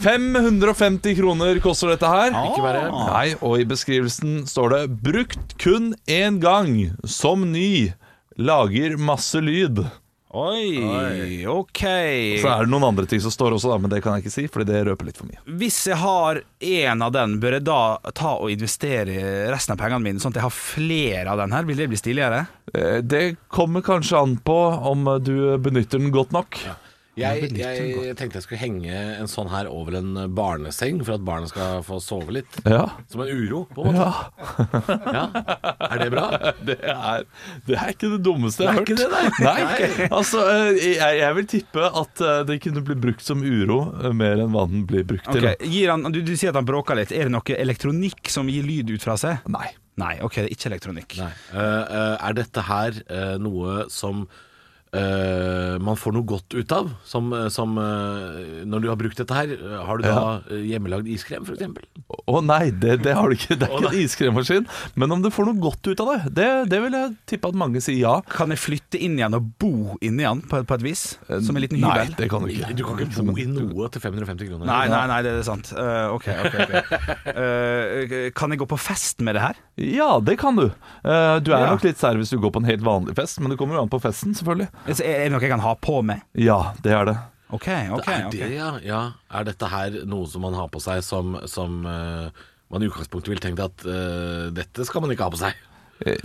S5: 550 kroner koster dette her. Nei, og i beskrivelsen står det 'brukt kun én gang, som ny', lager masse lyd'.
S4: Oi, ok.
S5: Så er det noen andre ting som står også, da, men det kan jeg ikke si, fordi det røper litt for mye.
S4: Hvis jeg har én av den, bør jeg da ta og investere resten av pengene mine, sånn at jeg har flere av den her? Vil det bli stiligere?
S5: Eh, Det kommer kanskje an på om eh, du benytter den godt nok.
S3: Jeg, jeg tenkte jeg skulle henge en sånn her over en barneseng for at barna skal få sove litt.
S5: Ja.
S3: Som en uro, på en måte.
S5: Ja,
S3: Ja. Er det bra?
S5: det er, det er ikke det dummeste jeg har hørt.
S3: Det er ikke det,
S5: nei. Altså, eh, jeg, jeg vil tippe at eh, det kunne bli brukt som uro eh, mer enn hva den blir brukt
S4: Ok,
S5: til.
S4: gir han, du, du sier at han bråker litt. Er det noe elektronikk som gir lyd ut fra seg?
S5: Nei.
S4: Nei, ok, det er ikke elektronikk.
S3: Nei. Eh, eh, er dette her eh, noe som eh, man får noe godt ut av? Som, eh, som eh, Når du har brukt dette her, eh, har du da eh, hjemmelagd iskrem, f.eks.?
S5: Å nei, det, det har du ikke. Det er ikke en iskremmaskin. Men om du får noe godt ut av det, det, det vil jeg tippe at mange sier ja.
S4: Kan jeg flytte inn igjen og bo inni den på, på et vis? Som en liten
S5: Nei,
S4: hybel?
S5: det kan du ikke.
S3: Du kan ikke bo i noe til 550 kroner.
S4: Nei, nei, nei, det er sant. Eh, ok, ok, ok. Eh, kan jeg gå på fest med det her?
S5: Ja, det kan du. Eh, du er
S4: Ja.
S5: nok litt sær hvis du går på en helt vanlig fest, men det kommer jo an på festen, selvfølgelig.
S4: Altså, Er er det noe jeg kan ha på meg?
S5: Ja, det er det.
S4: Ok, ok.
S3: er
S4: ok.
S3: det, ja. ja. Er dette her noe som man har på seg som, som eh, man i utgangspunktet vil tenke at eh, dette skal man ikke ha på seg?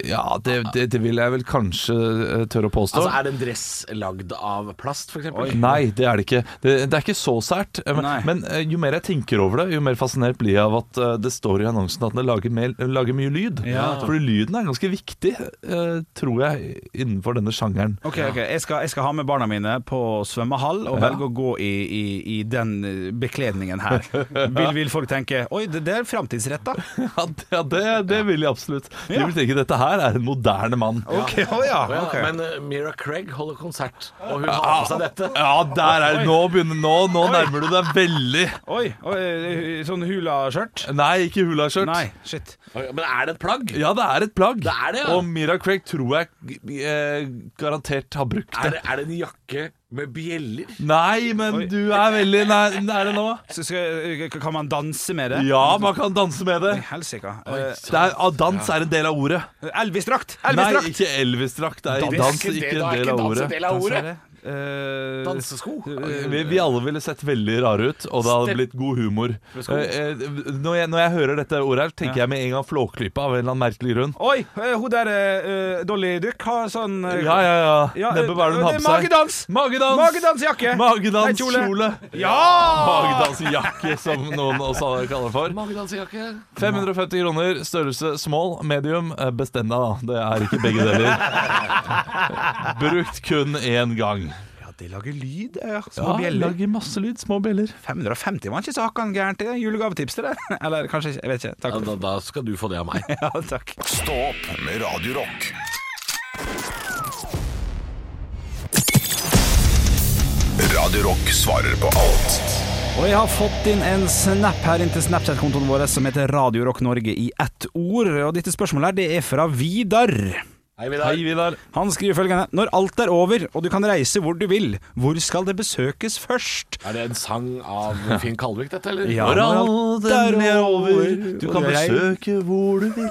S5: Ja, det, det, det vil jeg vel kanskje eh, tørre å påstå.
S3: Altså, Er det en dress lagd av plast, f.eks.?
S5: Nei, det er det ikke. Det, det er ikke så sært. Men,
S4: Nei.
S5: men eh, jo mer jeg tenker over det, jo mer fascinert blir jeg av at eh, det står i annonsen at den lager, mer, lager mye lyd.
S4: Ja.
S5: Fordi lyden er ganske viktig, eh, tror jeg, innenfor denne sjangeren.
S4: Ok, ok, jeg skal, jeg skal ha med barna mine på svømmehall og velge å gå i, i, i den eh, bekledningen her. Vil, vil folk tenke Oi, det, det er framtidsretta.
S5: Ja, det, ja, det, det vil jeg absolutt. De vil tenke dette her er en moderne mann.
S4: Ok, å ja,
S3: Ja,
S4: ok.
S3: Men eh, Mira Craig holder konsert, og hun har på seg dette.
S5: Ja, der er Nå begynner Nå, nå nærmer du deg veldig.
S4: Oi, oi eh, sånn hulaskjørt?
S5: Nei, ikke hulaskjørt.
S4: Nei, shit.
S3: Oi, Men er det et plagg?
S5: Ja, det er et plagg.
S3: Det er det, ja.
S5: Og Mira Craig tror jeg eh, garantert har brukt
S3: Er det,
S5: det.
S3: er det en jakke med bjeller?
S5: Nei, men du er veldig nær nær det nå.
S4: Så skal, kan man danse med det?
S5: Ja, man kan danse med det.
S4: Helsike.
S5: det er, ah, dans er en del av ordet.
S4: Eh, Elvis-drakt!
S5: Nei,
S4: Elvis-drakt!
S5: ikke Elvis-drakt. Det er
S3: Det er
S5: dans
S3: ikke det,
S5: Altså, ikke
S3: da
S5: en
S3: er
S5: del av
S3: dans en
S5: ordet.
S3: del av ordet.
S4: Eh,
S3: Dansesko.
S5: Vi, vi alle ville sett veldig rare ut, og det hadde
S3: Step-
S5: blitt god humor. Eh, eh, Når jeg, når jeg hører dette ordet, her tenker jeg med en gang Flåklypa av en eller annen merkelig grunn.
S4: Oi, eh, hun der eh, Dolly Duck har sånn eh,
S5: Ja, ja, ja.
S4: Ja,
S5: Neppe hva er det hun
S4: eh,
S5: har på seg.
S4: magedans!
S5: Magedans!
S4: Magedansjakke! Nei, kjole.
S5: Magedanskjole.
S4: Ja!
S5: Magedansjakke, som noen også kaller det for.
S3: Magedansejakke.
S5: 550 kroner, størrelse small, medium. eh, Bestem deg, da. Det er ikke begge deler. Brukt kun én gang.
S4: Ja, de lager lyd. eh, Små
S5: Ja,
S4: bjeller.
S5: lager masse lyd. Små bjeller.
S4: 550 var ikke så hakkan gærent. Det er julegavetips til deg. Eller kanskje ikke. Jeg vet ikke. Takk.
S3: Ja, da, da skal du få det av meg.
S4: Ja, takk.
S1: Stå opp med Radio Rock. Radio Rock svarer på alt.
S4: Og jeg har fått inn en snap her inn til Snapchat-kontoen vår som heter Radio Rock Norge i ett ord. Og dette spørsmålet her, det er fra Vidar.
S5: Hei, Vidar.
S4: Han skriver følgende Når alt er over og du kan reise hvor du vil, hvor skal det besøkes først?
S3: Er det en sang av Finn Kalvik, dette, eller?
S4: Ja.
S5: Når alt er over, du
S4: og
S5: kan
S4: jeg-
S5: besøke hvor du vil.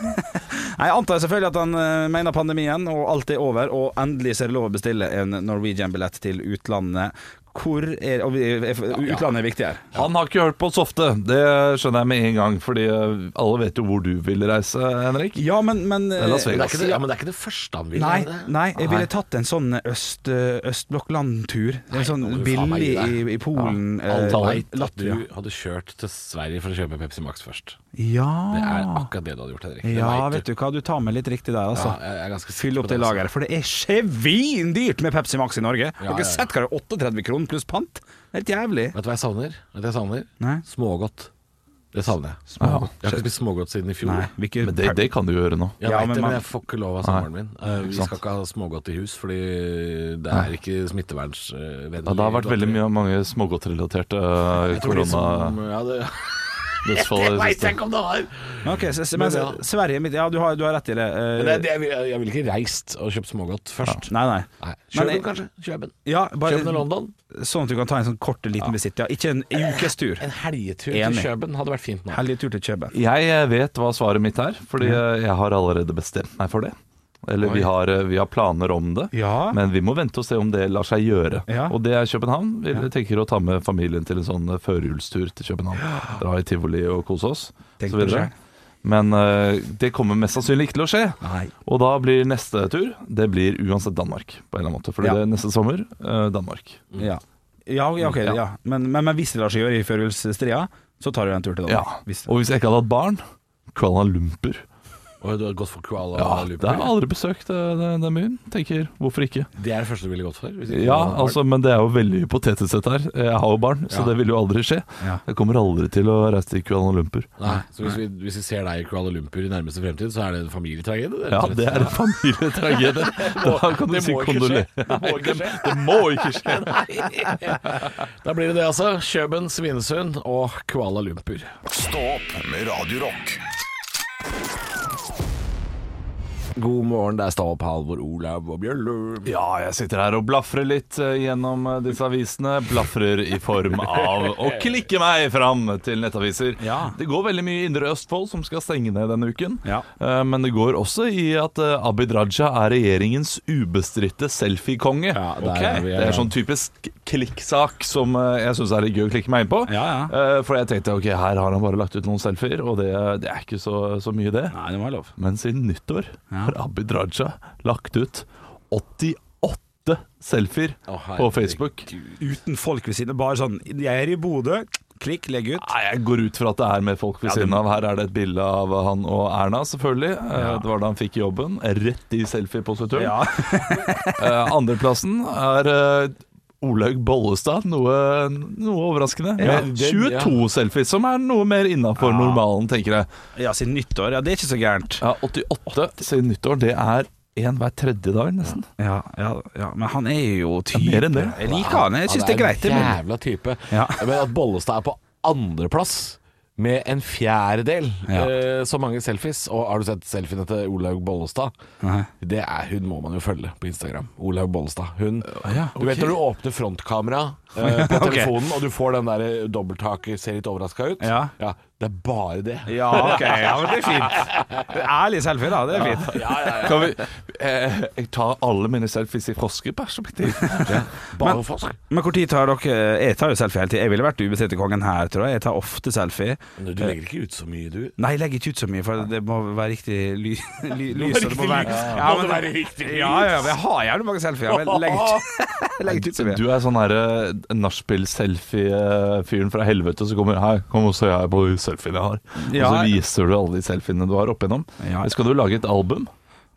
S4: Nei, Jeg antar selvfølgelig at han eh, mener pandemien og alt er over, og endelig så er det lov å bestille en Norwegian-billett til utlandet. Hvor er og vi- er- Utlandet er viktig her.
S5: Han har ikke hørt på oss ofte, det skjønner jeg med en gang. Fordi eh, alle vet jo hvor du vil reise, Henrik.
S4: Ja, men, men eh,
S5: Det er Las
S3: Men det
S5: Vegas.
S3: er ikke det, ja, men det er ikke det første han vil.
S4: Nei,
S3: er det?
S4: nei, jeg ville tatt en sånn øst, østblokkland-tur. En sånn
S3: nå må du faen meg
S4: billig
S3: gi deg.
S4: i, i Polen.
S3: Alt
S4: eh,
S3: han vet, at
S4: Latvia.
S3: du hadde kjørt til Sverige for å kjøpe Pepsi Max først. Det er
S4: Ja.
S3: akkurat det du hadde gjort, Henrik. Det
S4: ja,
S3: vet
S4: vet du hva, du tar med litt riktig der, altså.
S3: Ja, jeg er ganske sikker
S4: Fyll
S3: på
S4: opp det
S3: det, altså.
S4: lageret, for det er svindyrt med Pepsi Max i Norge. Har
S3: ja,
S4: dere
S3: ja.
S4: sett hva det er? 38 kroner pluss pant? Det er helt jævlig.
S3: Vet du hva jeg savner? Vet du hva jeg savner?
S4: Nei.
S3: Smågodt. Det savner jeg. Jeg har ikke spist smågodt siden i fjor.
S4: Nei, vi ikke
S5: Men det, det kan du gjøre nå.
S3: Jeg
S4: Ja,
S3: vet
S4: men
S3: det,
S4: man-
S3: men jeg får ikke lov av samboeren min. Eh, vi skal ikke ha smågodt i hus, fordi det er ikke smittevernvennlig.
S5: Ja, det har vært veldig mye mange smågodtrelaterte eh,
S3: Jeg tror de som-
S5: koronadødsfall.
S3: ja, det,
S5: i det
S3: vet
S5: siste.
S3: jeg ikke om det har!
S4: Ok, så, så,
S3: Men
S4: men,
S3: ja.
S4: Sverige mitt, Ja, du har, du har rett i det. eh,
S3: Men jeg, jeg, vil- jeg ville ikke reist og kjøpt smågodt først.
S4: nei, nei.
S3: Nei.
S4: Men
S3: Kjøben,
S4: jeg-
S3: kanskje. Kjøben.
S4: Ja, bare
S3: Kjøben og London.
S4: sånn at du kan ta en sånn kort liten visitt. Ja, ikke en ukestur.
S3: En helgetur
S4: Enig.
S3: til Kjøben hadde vært fint nå.
S4: Heldig tur til Kjøben.
S5: Jeg eh, vet hva svaret mitt er, fordi eh, jeg har allerede bestemt meg for det. Eller vi har, eh, vi har planer om det,
S4: Ja.
S5: men vi må vente og se om det lar seg gjøre.
S4: Ja.
S5: Og det er København. Vi tenker å ta med familien til en sånn førjulstur til København. Dra i tivoli og kose oss.
S4: Tenk
S5: så
S4: på det
S5: videre.
S4: selv.
S5: Men eh, det kommer mest sannsynlig ikke til å skje.
S4: Nei.
S5: Og da blir neste tur Det blir uansett Danmark, på en eller annen måte. Fordi
S4: Ja.
S5: det er neste sommer eh, Danmark.
S4: Mm. Ja, ja, ja ok. Ja. Men, men, men hvis det lar seg gjøre i førjulsstria, så tar du en tur til
S5: Ja.
S4: Danmark. Hvis-
S5: Og hvis jeg ikke hadde hatt barn, Kuala Lumpur.
S3: Og du har gått for Kuala
S5: Ja, det
S3: Lumpur?
S5: har jeg aldri besøkt eh, den den byen. Tenker, hvorfor ikke?
S3: Det er det første du ville gått for? hvis ikke
S5: Ja,
S3: du hadde barn.
S5: altså, men det er jo veldig hypotetisk sett her. Jeg har jo barn, så
S3: Ja.
S5: det vil jo aldri skje.
S4: Ja.
S5: Jeg kommer aldri til å reise til Kuala Lumpur.
S3: Nei, så hvis vi, hvis vi ser deg i Kuala Lumpur i nærmeste fremtid, så er det en familietragedie?
S5: Ja, det er en familietragedie. Da kan du si kondolerer. Det må ikke skje!
S3: Da blir det det, altså. Kjøben, Svinesund og Kuala Lumpur.
S1: Stå opp med Radio Rock.
S3: God morgen, det er Stav, Halvor, Olav og Bjølle.
S5: Ja, jeg sitter her og blafrer litt eh, gjennom eh, disse avisene. Blafrer i form av å klikke meg fram til nettaviser.
S4: Ja.
S5: Det går veldig mye i Indre Østfold, som skal stenge ned denne uken.
S4: Ja.
S5: Eh, Men det går også i at eh, Abid Raja er regjeringens ubestridte selfiekonge.
S3: Ja, der
S5: Ok.
S3: er vi, ja.
S5: Det er sånn typisk klikksak som eh, jeg syns er litt gøy å klikke meg inn på.
S4: Ja,
S5: Eh, For jeg tenkte ok, her har han bare lagt ut noen selfier, og det, det er ikke så, så mye, det.
S4: Nei, det må være lov.
S5: Men siden nyttår
S4: Ja.
S5: har Abid Raja lagt ut 88 selfier på Facebook.
S4: Uten folk ved siden av. Bare sånn 'Jeg er i Bodø', klikk, legg ut.
S5: Nei, Jeg går ut fra at det er med folk ved siden av. Her er det et bilde av han og Erna, selvfølgelig. Eh, Det var da han fikk jobben. Rett i selfie-posituren.
S4: Ja.
S5: Eh, Andreplassen er eh, Olaug Bollestad, noe, noe overraskende. Med 22 selfies, som er noe mer innafor normalen, tenker jeg.
S4: ja, siden nyttår. Ja, det er ikke så gærent.
S5: Ja, 88 siden nyttår, det er én hver tredje dag, nesten.
S4: Ja, ja, ja, men han er jo type.
S5: mer enn det.
S4: Jeg liker han. Jeg syns det er greit. det,
S3: En
S4: Men
S3: jævla type.
S4: Ja.
S3: Men at Bollestad er på andreplass med en fjerdedel
S4: Ja.
S3: eh, så mange selfies. Og har du sett selfiene til Olaug Bollestad?
S4: Nei.
S3: Det er, hun må man jo følge på Instagram. Olaug Bollestad. Hun, Du vet når du åpner frontkamera eh, på
S4: Ok.
S3: telefonen, og du får den der eh, dobbelttaket ser litt overraska ut.
S4: Ja.
S3: Det er bare det.
S4: ja, ok, ja, men det er fint. Ærlig selfie, da. Det er fint.
S5: Kan vi eh, Jeg tar alle mine selfies i froskeperspektiv.
S3: Bare for seg.
S4: Men hvor tid tar dere Jeg tar jo selfie hele tiden. Jeg ville vært ubestridt kongen her, tror jeg. Jeg tar ofte selfie.
S3: Du legger ikke ut så mye, du.
S4: Nei, jeg legger ikke ut så mye, for det må være riktig ly ly lys. og Det må være, ja, men, ja, ja, men jeg har gjerne mange selfier, men jeg legger ikke, jeg legger ikke ut så mye.
S5: Du er sånn herre nachspiel-selfie-fyren fra helvete som kommer her. Kom og se her på de selfiene jeg har.
S4: Ja.
S5: Og så viser du alle de selfiene du har opp igjennom.
S4: Ja.
S5: Skal du lage et album?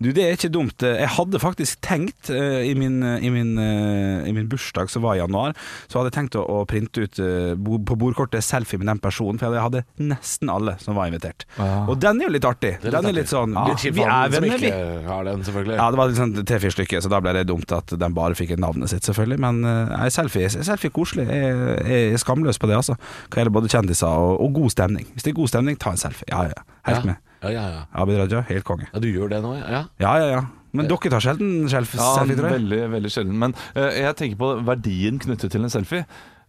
S4: Du, det er ikke dumt. Jeg hadde faktisk tenkt eh, i, min, i, min, eh, I min bursdag, som var i januar, så hadde jeg tenkt å, å printe ut eh, bo- på bordkortet selfie med den personen, for jeg hadde nesten alle som var invitert. Og den er jo litt artig. Den Ah. er litt sånn Vi vi er venner, vi.
S3: har den, selvfølgelig.
S4: Ja, det var liksom tre-fire stykker, så da ble det dumt at den bare fikk navnet sitt, selvfølgelig. Men eh, nei, selfie, selfie er koselig. Jeg, jeg er skamløs på det, altså. Hva gjelder både kjendiser og, og god stemning. Hvis det er god stemning, ta en selfie. Ja, ja. ja. Helt med.
S3: Ja, ja, ja.
S4: Abid Raja, helt konge.
S3: ja, du gjør det nå, ja?
S4: Ja, ja, ja. Men dere tar sjelden self selfie, tror jeg.
S5: veldig, veldig sjelden. Men eh, jeg tenker på verdien knyttet til en selfie.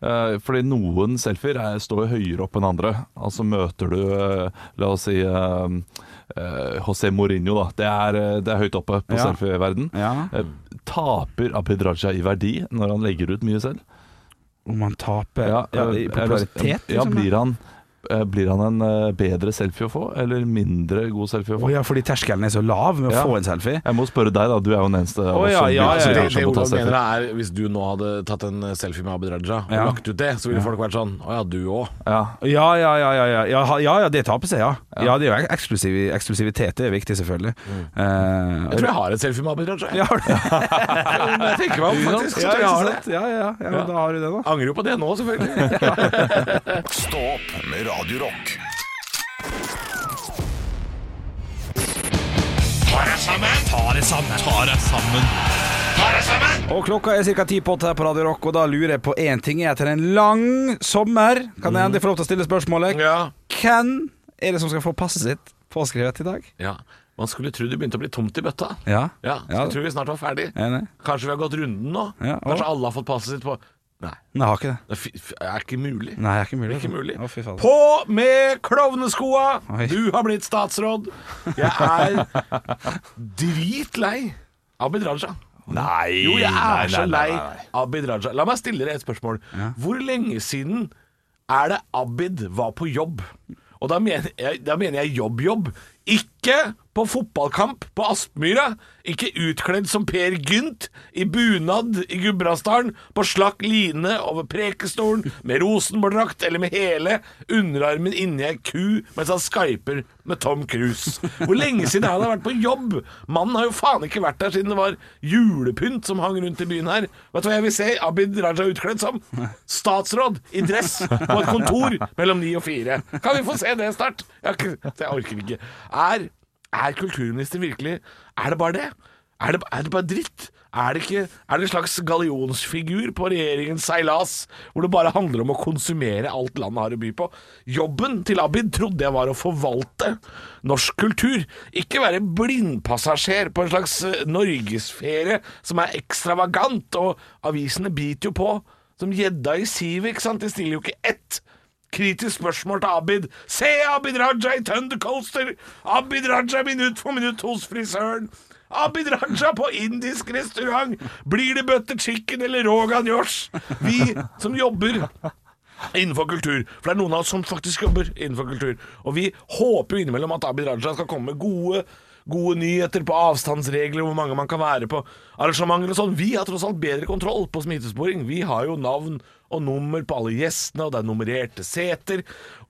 S5: Eh, fordi noen selfier er, står høyere opp enn andre. Altså møter du eh, La oss si eh, eh, José Mourinho, da. Det er, eh, det er høyt oppe på
S4: Ja.
S5: selfieverden.
S4: Ja.
S5: Eh, taper Abid Raja i verdi når han legger ut mye selv?
S4: Om man taper ja, i
S5: eh,
S4: popularitet,
S5: ja,
S4: liksom.
S5: blir, han, eh, blir han en eh, bedre selfie å få, eller mindre god selfie å
S4: Å
S5: få?
S4: ja, fordi terskelen er så lav med å
S5: Ja.
S4: få en selfie.
S5: Jeg må spørre deg, da. Du er jo den eneste av
S4: Å,
S5: oss
S4: ja, ja, ja,
S5: som
S4: ja.
S5: blir-
S3: Det,
S5: som
S3: det
S5: må ta
S3: Olav
S5: selfie.
S3: mener er Hvis du nå hadde tatt en selfie med Abid Raja og
S4: Ja.
S3: lagt ut det, så ville folk vært sånn Å ja, du òg.
S5: Ja.
S4: Ja, ja, ja, ja, ja, ja, ha- ja, ja det taper seg, ja. Ja, det er jo eksklusiv, eksklusivitet, det er viktig, selvfølgelig. Eh,
S3: Jeg tror jeg har en selfie med Abid Raja.
S4: Ja, har du det?
S3: jeg tenker meg om, faktisk.
S4: Ja,
S3: så tror jeg
S4: jeg har
S3: jeg
S4: det. Ja, ja, ja, men da har du det, da.
S3: Angrer jo på det nå, selvfølgelig.
S1: Stå opp med Radio Rock.
S4: Og klokka er ca. ti på åtte her på Radio Rock, og da lurer jeg på én ting. Etter en lang sommer kan jeg endelig få lov til å stille spørsmålet.
S3: Ja.
S4: Hvem er det som skal få passet sitt påskrevet i dag?
S3: ja. Man skulle tro det begynte å bli tomt i bøtta.
S4: Ja.
S3: Ja, så
S4: Ja.
S3: jeg tror vi snart var ferdig.
S4: Enig.
S3: Kanskje vi har gått runden nå?
S4: Ja, og-
S3: Kanskje alle har fått passet sitt på Nei,
S4: Nei, jeg har ikke det.
S3: det er fi- fi- er ikke mulig.
S4: Nei, jeg er ikke mulig. altså.
S3: Ikke mulig.
S4: Å, fy faen.
S3: På med klovneskoa!
S4: Oi.
S3: Du har blitt statsråd. Jeg er dritlei Abid Raja.
S5: Nei,
S3: Jo, jeg
S5: nei,
S3: er så
S5: nei,
S3: lei
S5: nei, nei.
S3: Abid Raja. La meg stille deg et spørsmål. Hvor lenge siden er det Abid var på jobb? Og da mener jeg, da mener jeg jobb-jobb. Ikke på fotballkamp på Aspmyra. Ikke utkledd som Per Gynt i bunad i Gudbrandsdalen. På slakk line over Prekestolen, med Rosenborg-drakt eller med hele underarmen inni ei ku mens han skyper med Tom Cruise. Hvor lenge siden er han har vært på jobb? Mannen har jo faen ikke vært der siden det var julepynt som hang rundt i byen her. Vet du hva jeg vil se Abid Raja utkledd som? Statsråd i dress på et kontor mellom ni og fire. Kan vi få se det snart? Jeg, har ikke, jeg orker ikke. Er, er kulturminister virkelig Er det bare det? Er det, er det bare dritt? Er det, ikke, er det en slags gallionsfigur på regjeringens seilas, hvor det bare handler om å konsumere alt landet har å by på? Jobben til Abid trodde jeg var å forvalte norsk kultur, ikke være blindpassasjer på en slags eh, norgesferie som er ekstravagant, og avisene biter jo på som gjedda i sivet, ikke sant? De stiller jo ikke ett Kritisk spørsmål til Abid. Se Abid Raja i Thundercoaster! Abid Raja minutt for minutt hos frisøren! Abid Raja på indisk restaurant! Blir det butter chicken eller rogan josh? Vi som jobber innenfor kultur. For det er noen av oss som faktisk jobber innenfor kultur. Og vi håper jo innimellom at Abid Raja skal komme med gode, gode nyheter på avstandsregler, hvor mange man kan være på arrangementer og sånn. Vi har tross alt bedre kontroll på smittesporing. Vi har jo navn og nummer på alle gjestene, og det er nummererte seter,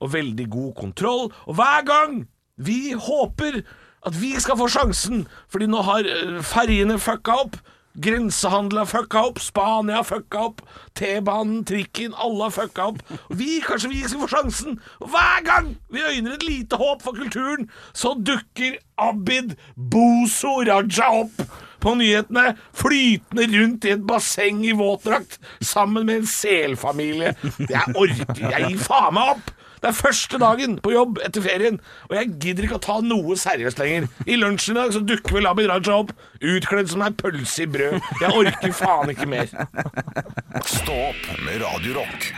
S3: og veldig god kontroll. Og hver gang vi håper at vi skal få sjansen, fordi nå har eh, ferjene fucka opp. Grensehandel har fucka opp, Spania har fucka opp, T-banen, trikken, alle har fucka opp. Og Vi, kanskje vi skal få sjansen. Og hver gang vi øyner et lite håp for kulturen, så dukker Abid Bozo Raja opp på nyhetene, flytende rundt i et basseng i våtdrakt sammen med en selfamilie. Jeg orker, jeg gir faen meg opp! Det er første dagen på jobb etter ferien, og jeg gidder ikke å ta noe seriøst lenger. I lunsjen i dag så dukker vel Abid Raja opp, utkledd som ei pølse i brød. Jeg orker faen ikke mer.
S1: Stå opp med Radio Rock.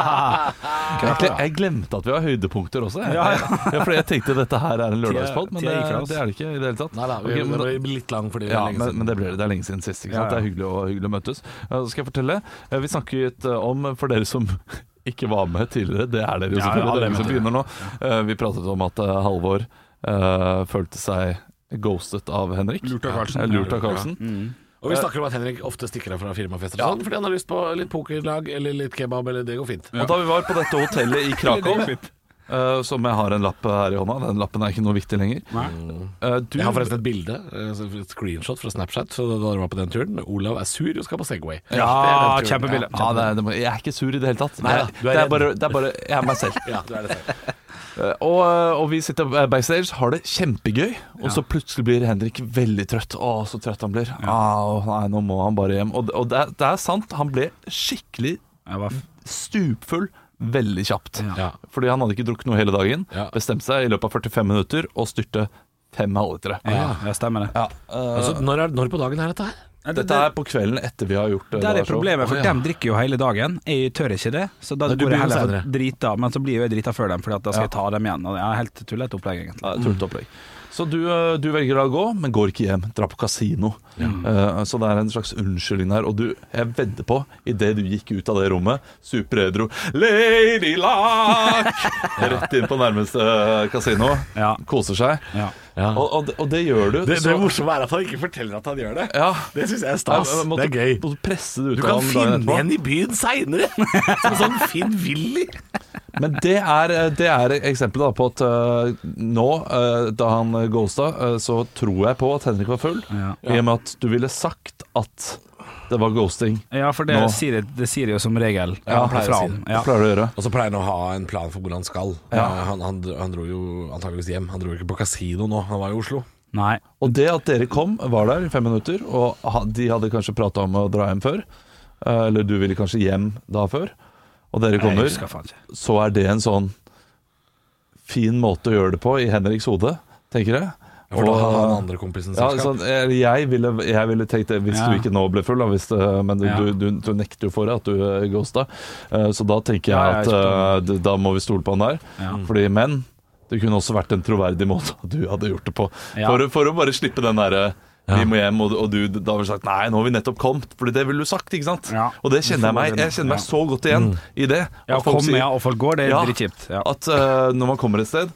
S5: Jeg, jeg glemte at vi har høydepunkter også. Jeg, Ja, fordi jeg tenkte dette her er en lørdagspod, men det,
S4: tida gikk fra oss.
S5: det er det ikke i det hele tatt.
S3: Nei da, vi
S5: Ok, men da-
S3: det blir litt lang fordi det
S5: ja,
S3: er lenge
S5: men, men
S3: siden.
S5: det, ble, det. det er lenge siden sist. Ikke sant?
S4: Ja, ja.
S5: Det er hyggelig, og, hyggelig å møtes. Eh, Så skal jeg fortelle. eh, Vi snakket eh, om, for dere som ikke var med tidligere, det er dere jo
S4: Ja, ja,
S5: selvfølgelig,
S4: alle
S5: dere
S4: er
S5: som
S4: med
S5: begynner nå. Eh, Vi pratet om at eh, Halvor eh, følte seg ghostet av Henrik.
S4: Lurt av Karlsen.
S5: Eh, Lurt av Karlsen.
S3: Og vi snakker om at Henrik ofte stikker av fra firmafester og sånn, fordi han har lyst på litt pokerlag eller litt kebab, eller det går fint.
S4: Mm.
S5: Og da vi var på dette hotellet i Krakow, eh, som jeg har en lapp her i hånda Den lappen er ikke noe viktig lenger. Eh, Du,
S3: Jeg har forresten et bilde, eh, så et screenshot fra Snapchat så da dere var på den turen. Olav er sur og skal på Segway.
S4: Ja,
S3: Det er den turen.
S4: kjempebilde.
S5: ja, det er, det må- jeg er ikke sur i det hele tatt.
S3: Nei da,
S5: det,
S3: du er
S5: er, det, er
S3: redd.
S5: bare, det er bare Jeg er meg selv.
S3: Ja, du er det selv.
S5: Eh, Og, og vi sitter backstage, har det kjempegøy, og så plutselig blir Henrik veldig trøtt. Å, så trøtt han blir. Au, nei, nå må han bare hjem. Og, og det, er- det er sant, han ble skikkelig
S4: Jeg var f-
S5: stupfull veldig kjapt.
S3: Ja.
S5: Fordi han hadde ikke drukket noe hele dagen.
S3: Ja.
S5: Bestemte seg i løpet av 45 minutter å styrte fem halvlitere.
S4: ja, jeg stemmer det.
S5: Ja, eh,
S3: Altså, når, er, når på dagen er dette her?
S5: dette er på kvelden etter vi har gjort eh,
S4: Der
S5: det
S4: er problemet, for de drikker jo hele dagen. Jeg tør ikke det, så da
S3: Men du
S4: går jeg
S3: begynner
S4: heller
S3: senere.
S4: og driter av. Men så blir jo jeg drita før dem, for da skal jeg ta dem igjen. Og det er helt tullete opplegg, egentlig.
S5: Ja, tullete opplegg. Så du, eh, du velger da å gå, men går ikke hjem. Drar på kasino. Eh, Så det er en slags unnskyldning der. Og du, jeg vedder på, idet du gikk ut av det rommet, superedru Lady Luck! Rett inn på nærmeste eh, kasino.
S4: Ja.
S5: Koser seg.
S4: Ja.
S5: Og, og, det- og det gjør du.
S3: Det,
S5: så-
S3: det morsomme er at han ikke forteller at han gjør det.
S5: ja.
S3: Det syns jeg er
S5: Ja,
S3: stas.
S5: jeg måtte-
S3: Det er gøy.
S5: måtte presse det ut
S3: Du
S5: av
S3: kan
S5: ham dagen
S3: finne
S5: etterpå.
S3: en i byen seinere, som sånn Finn-Willy.
S5: Men det er, eh, det er eksempelet da på at øh, nå, øh, da han ghosta, øh, så tror jeg på at Henrik var full. I og med at du ville sagt at det var ghosting.
S4: Ja, for det
S5: Nå.
S4: sier, jeg- det sier jeg jo som regel.
S5: Ja,
S4: fra
S5: pleier å si
S4: han.
S5: Det
S4: Ja.
S5: pleier du å gjøre.
S3: Og så pleier han å ha en plan for hvor han skal. Eh, Han, han, han dro jo antakeligvis hjem. Han dro ikke på kasino nå, han var i Oslo.
S4: Nei.
S5: Og det at dere kom, var der i fem minutter, og ha- de hadde kanskje prata om å dra hjem før. øh, Eller du ville kanskje hjem da før. Og dere
S4: Jeg
S5: kommer,
S4: husker faen ikke.
S5: så er det en sånn fin måte å gjøre det på i Henriks hode, tenker jeg.
S3: For da har han
S5: Og-
S3: andre kompisen
S5: Ja,
S3: selskap.
S5: sånn, jeg, jeg, ville, jeg ville tenkt det hvis
S4: Ja.
S5: du ikke nå ble full, da, hvis det, men
S4: Ja.
S5: du, du, du nekter jo for det, at du eh, ghosta. Eh, Så da tenker jeg
S4: Ja, jeg
S5: at eh, d- da må vi stole på han der.
S4: Ja.
S5: Fordi, men det kunne også vært en troverdig måte at du hadde gjort det på.
S4: Ja.
S5: For, å- for å bare slippe den derre vi må hjem, og, og du da ville sagt nei, nå har vi nettopp kommet. Fordi det ville du sagt, ikke sant?
S4: Ja.
S5: Og det
S4: Du
S5: kjenner jeg
S4: får
S5: meg
S4: den,
S5: Jeg kjenner meg
S4: ja. Mm.
S5: så godt igjen i det.
S4: Ja,
S5: Og folk
S4: kom
S5: sier-
S4: ja, og folk går, det er
S5: Eh, Ja.
S4: dritkjipt. Ja.
S5: At eh, når man kommer et sted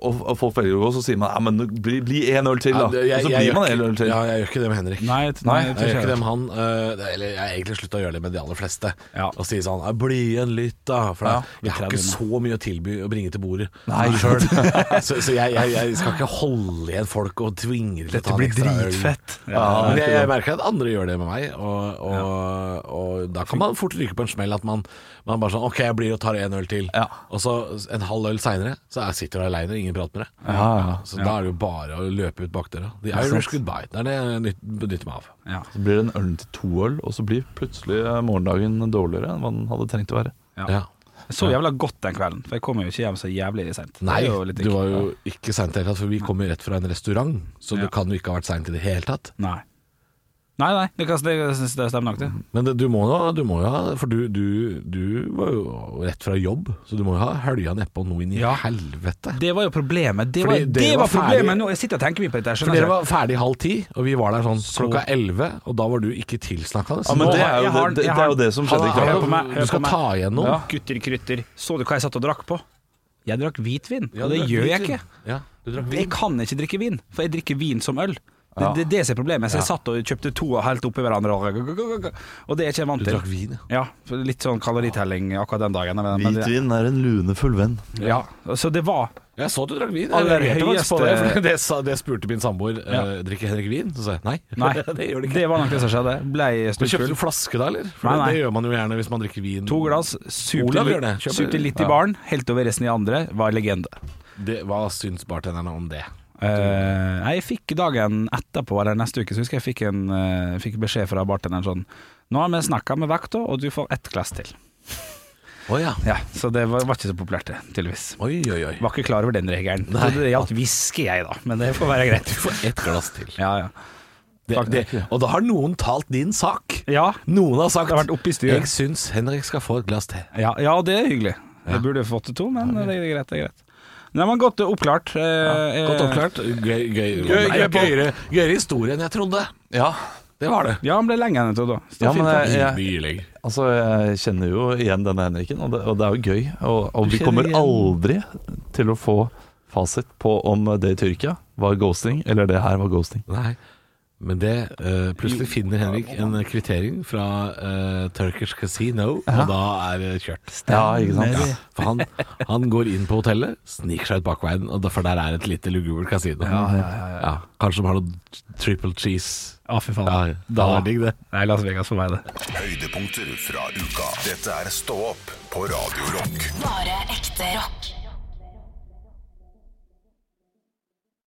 S5: og, og folk velger å gå, så sier man ja, men bli, bli en øl til,
S3: Ja,
S5: da.
S3: det- jeg-
S5: og så
S3: jeg
S5: blir
S3: gjør
S5: man
S3: ikke-
S5: en øl til.
S3: Ja, jeg gjør ikke det med Henrik.
S4: Nei, t-
S5: Nei,
S4: nei,
S3: Jeg gjør ikke
S4: det.
S3: det med han. eh, Eller jeg har egentlig slutta å gjøre det med de aller fleste.
S4: Ja.
S3: Og si sånn «Ja, 'bli igjen litt', da. For
S5: Ja,
S3: jeg har ikke
S4: krever det.
S3: så mye å tilby å bringe til bordet
S5: Nei.
S3: sjøl. Så, så jeg, jeg, jeg skal ikke holde igjen folk og tvinge dem til å ta en ekstra øl.
S5: Ja,
S3: Men jeg,
S5: det er ikke
S3: jeg
S5: det.
S3: merker at andre gjør det med meg, og, og, og da kan man fort ryke på en smell. At man, man bare sånn OK, jeg blir og tar en øl til.
S5: Ja.
S3: Og så en halv øl seinere, så er- sitter du aleine og ingen prater med deg.
S5: Ja, ja.
S3: Så da er det jo bare å løpe ut bakdøra. The
S5: sant.
S3: Irish goodbye. Det er det jeg nyt- benytter meg av.
S4: Ja.
S5: Så blir det en øl til to øl, og så blir plutselig eh, morgendagen dårligere enn hva den hadde trengt å være.
S4: Ja. Jeg så jævla godt den kvelden, for jeg kom jo ikke hjem så jævlig seint.
S3: Nei,
S4: Det er jo litt
S3: du var jo ikke seint i det hele tatt, for vi kom jo rett fra en restaurant, så
S4: Ja.
S3: du kan jo ikke ha vært seint i det hele tatt.
S4: Nei. Nei, nei, det, kan, det, det stemmer nok, det.
S6: Men det, du, må jo, du må jo ha For du, du, du var jo rett fra jobb, så du må jo ha hølja nedpå noe inn i
S4: Ja.
S6: helvete.
S4: Det var jo problemet. Det
S6: Fordi
S4: var,
S6: dere
S4: det
S6: var
S4: var problemet
S6: ferdig-
S4: nå. Jeg sitter og tenker mye på dette. her,
S6: For
S4: skjønner
S6: dere
S4: du?
S6: var ferdig halv ti, og vi var der sånn klokka elleve, og da var du ikke tilsnakkende.
S5: Ja, men
S4: Nå
S5: det
S4: har-
S5: er jo
S4: jeg har-
S5: det, det,
S4: jeg
S5: det, er
S4: har-
S5: jo det som skjedde i
S4: Hør
S5: kveld.
S4: på meg.
S6: Du
S4: Hør
S6: skal
S4: på meg.
S6: ta igjen noe.
S4: Ja. Gutter, krytter. Så du hva jeg satt og drakk på? Jeg drakk hvitvin, og det gjør jeg ikke.
S6: Ja, du drakk
S4: Jeg kan ikke drikke vin, for jeg drikker vin som øl. Det det- det er det som er problemet. Så jeg satt og kjøpte to og helt oppi hverandre, og- og det er ikke jeg vant
S6: Du
S4: til.
S6: drakk vin, ja.
S4: Ja, for litt sånn kaloritelling akkurat den dagen. Men, men det,
S5: Hvitvin er en lunefull venn.
S4: ja, så det var
S6: Jeg så at du drakk vin. Jeg
S4: Aller
S6: reagerte faktisk på det,
S4: høyeste-
S6: for det, sa, det spurte min samboer. eh, drikker Henrik vin? Så sa jeg nei.
S4: Nei,
S6: det gjør det ikke.
S4: det var nok det som skjedde. Blei
S6: Men Kjøpte
S4: stupfull.
S6: du flaske da, eller? For
S4: Nei, nei.
S6: Det gjør man jo gjerne hvis man drikker vin.
S4: To glass, supte
S6: Olav gjør
S4: litt,
S6: det. Kjøper-
S4: supte litt i baren, helt over resten i andre, var legende.
S6: Det, hva syns bartenderne om det?
S4: Eh, nei, jeg fikk dagen etterpå eller neste uke, så husker jeg fikk, en, eh, fikk beskjed fra bartenderen sånn Nå har vi snakka med vekta, og du får ett glass til.
S6: Å ja.
S4: Ja, Så det var, var ikke så populært, det, tydeligvis.
S6: Oi, oi, oi.
S4: Var ikke klar over den regelen. Så det gjaldt whisky, jeg, da. Men det får være greit.
S6: Et glass til.
S4: Ja, ja.
S6: Det, det, og da har noen talt din sak.
S4: Ja,
S6: Noen har sagt
S4: Det har vært oppe i styret.
S6: 'Jeg syns Henrik skal få et glass til'.
S4: ja, ja det er hyggelig. Jeg burde fått til to, men det er greit. det er greit Nei, men Godt oppklart. eh,
S6: Godt
S4: eh,
S6: oppklart. Gøy, gøy,
S5: Gøy-
S6: Nei,
S5: gøy på.
S6: gøyere, gøyere historie enn jeg trodde.
S5: Ja,
S6: Det var det.
S4: eh, Ja, han ble lenge enn jeg trodde. Så
S5: ja men
S4: fint, da.
S5: jeg, jeg,
S6: Mye lenger.
S5: altså, jeg kjenner jo igjen denne Henriken, og det, og det er jo gøy. Og, og vi
S6: kjenner
S5: kommer
S6: igjen-
S5: aldri til å få fasit på om det i Tyrkia var ghosting, eller det her var ghosting.
S6: Nei. Men det eh, Plutselig finner Henrik en kvittering fra eh, Turkish Casino, og da er det kjørt.
S5: Ja, ikke sant? Ja.
S6: For han, han går inn på hotellet, sniker seg ut bakveien, og da- for der er et lite lugubert kasino. Ja, kanskje de har noe triple cheese.
S4: Å, fy faen.
S6: Ja, det hadde vært digg, det.
S4: Nei, Las Vegas for meg, det.
S1: Høydepunkter fra uka. Dette er Stå opp på Radio Rock.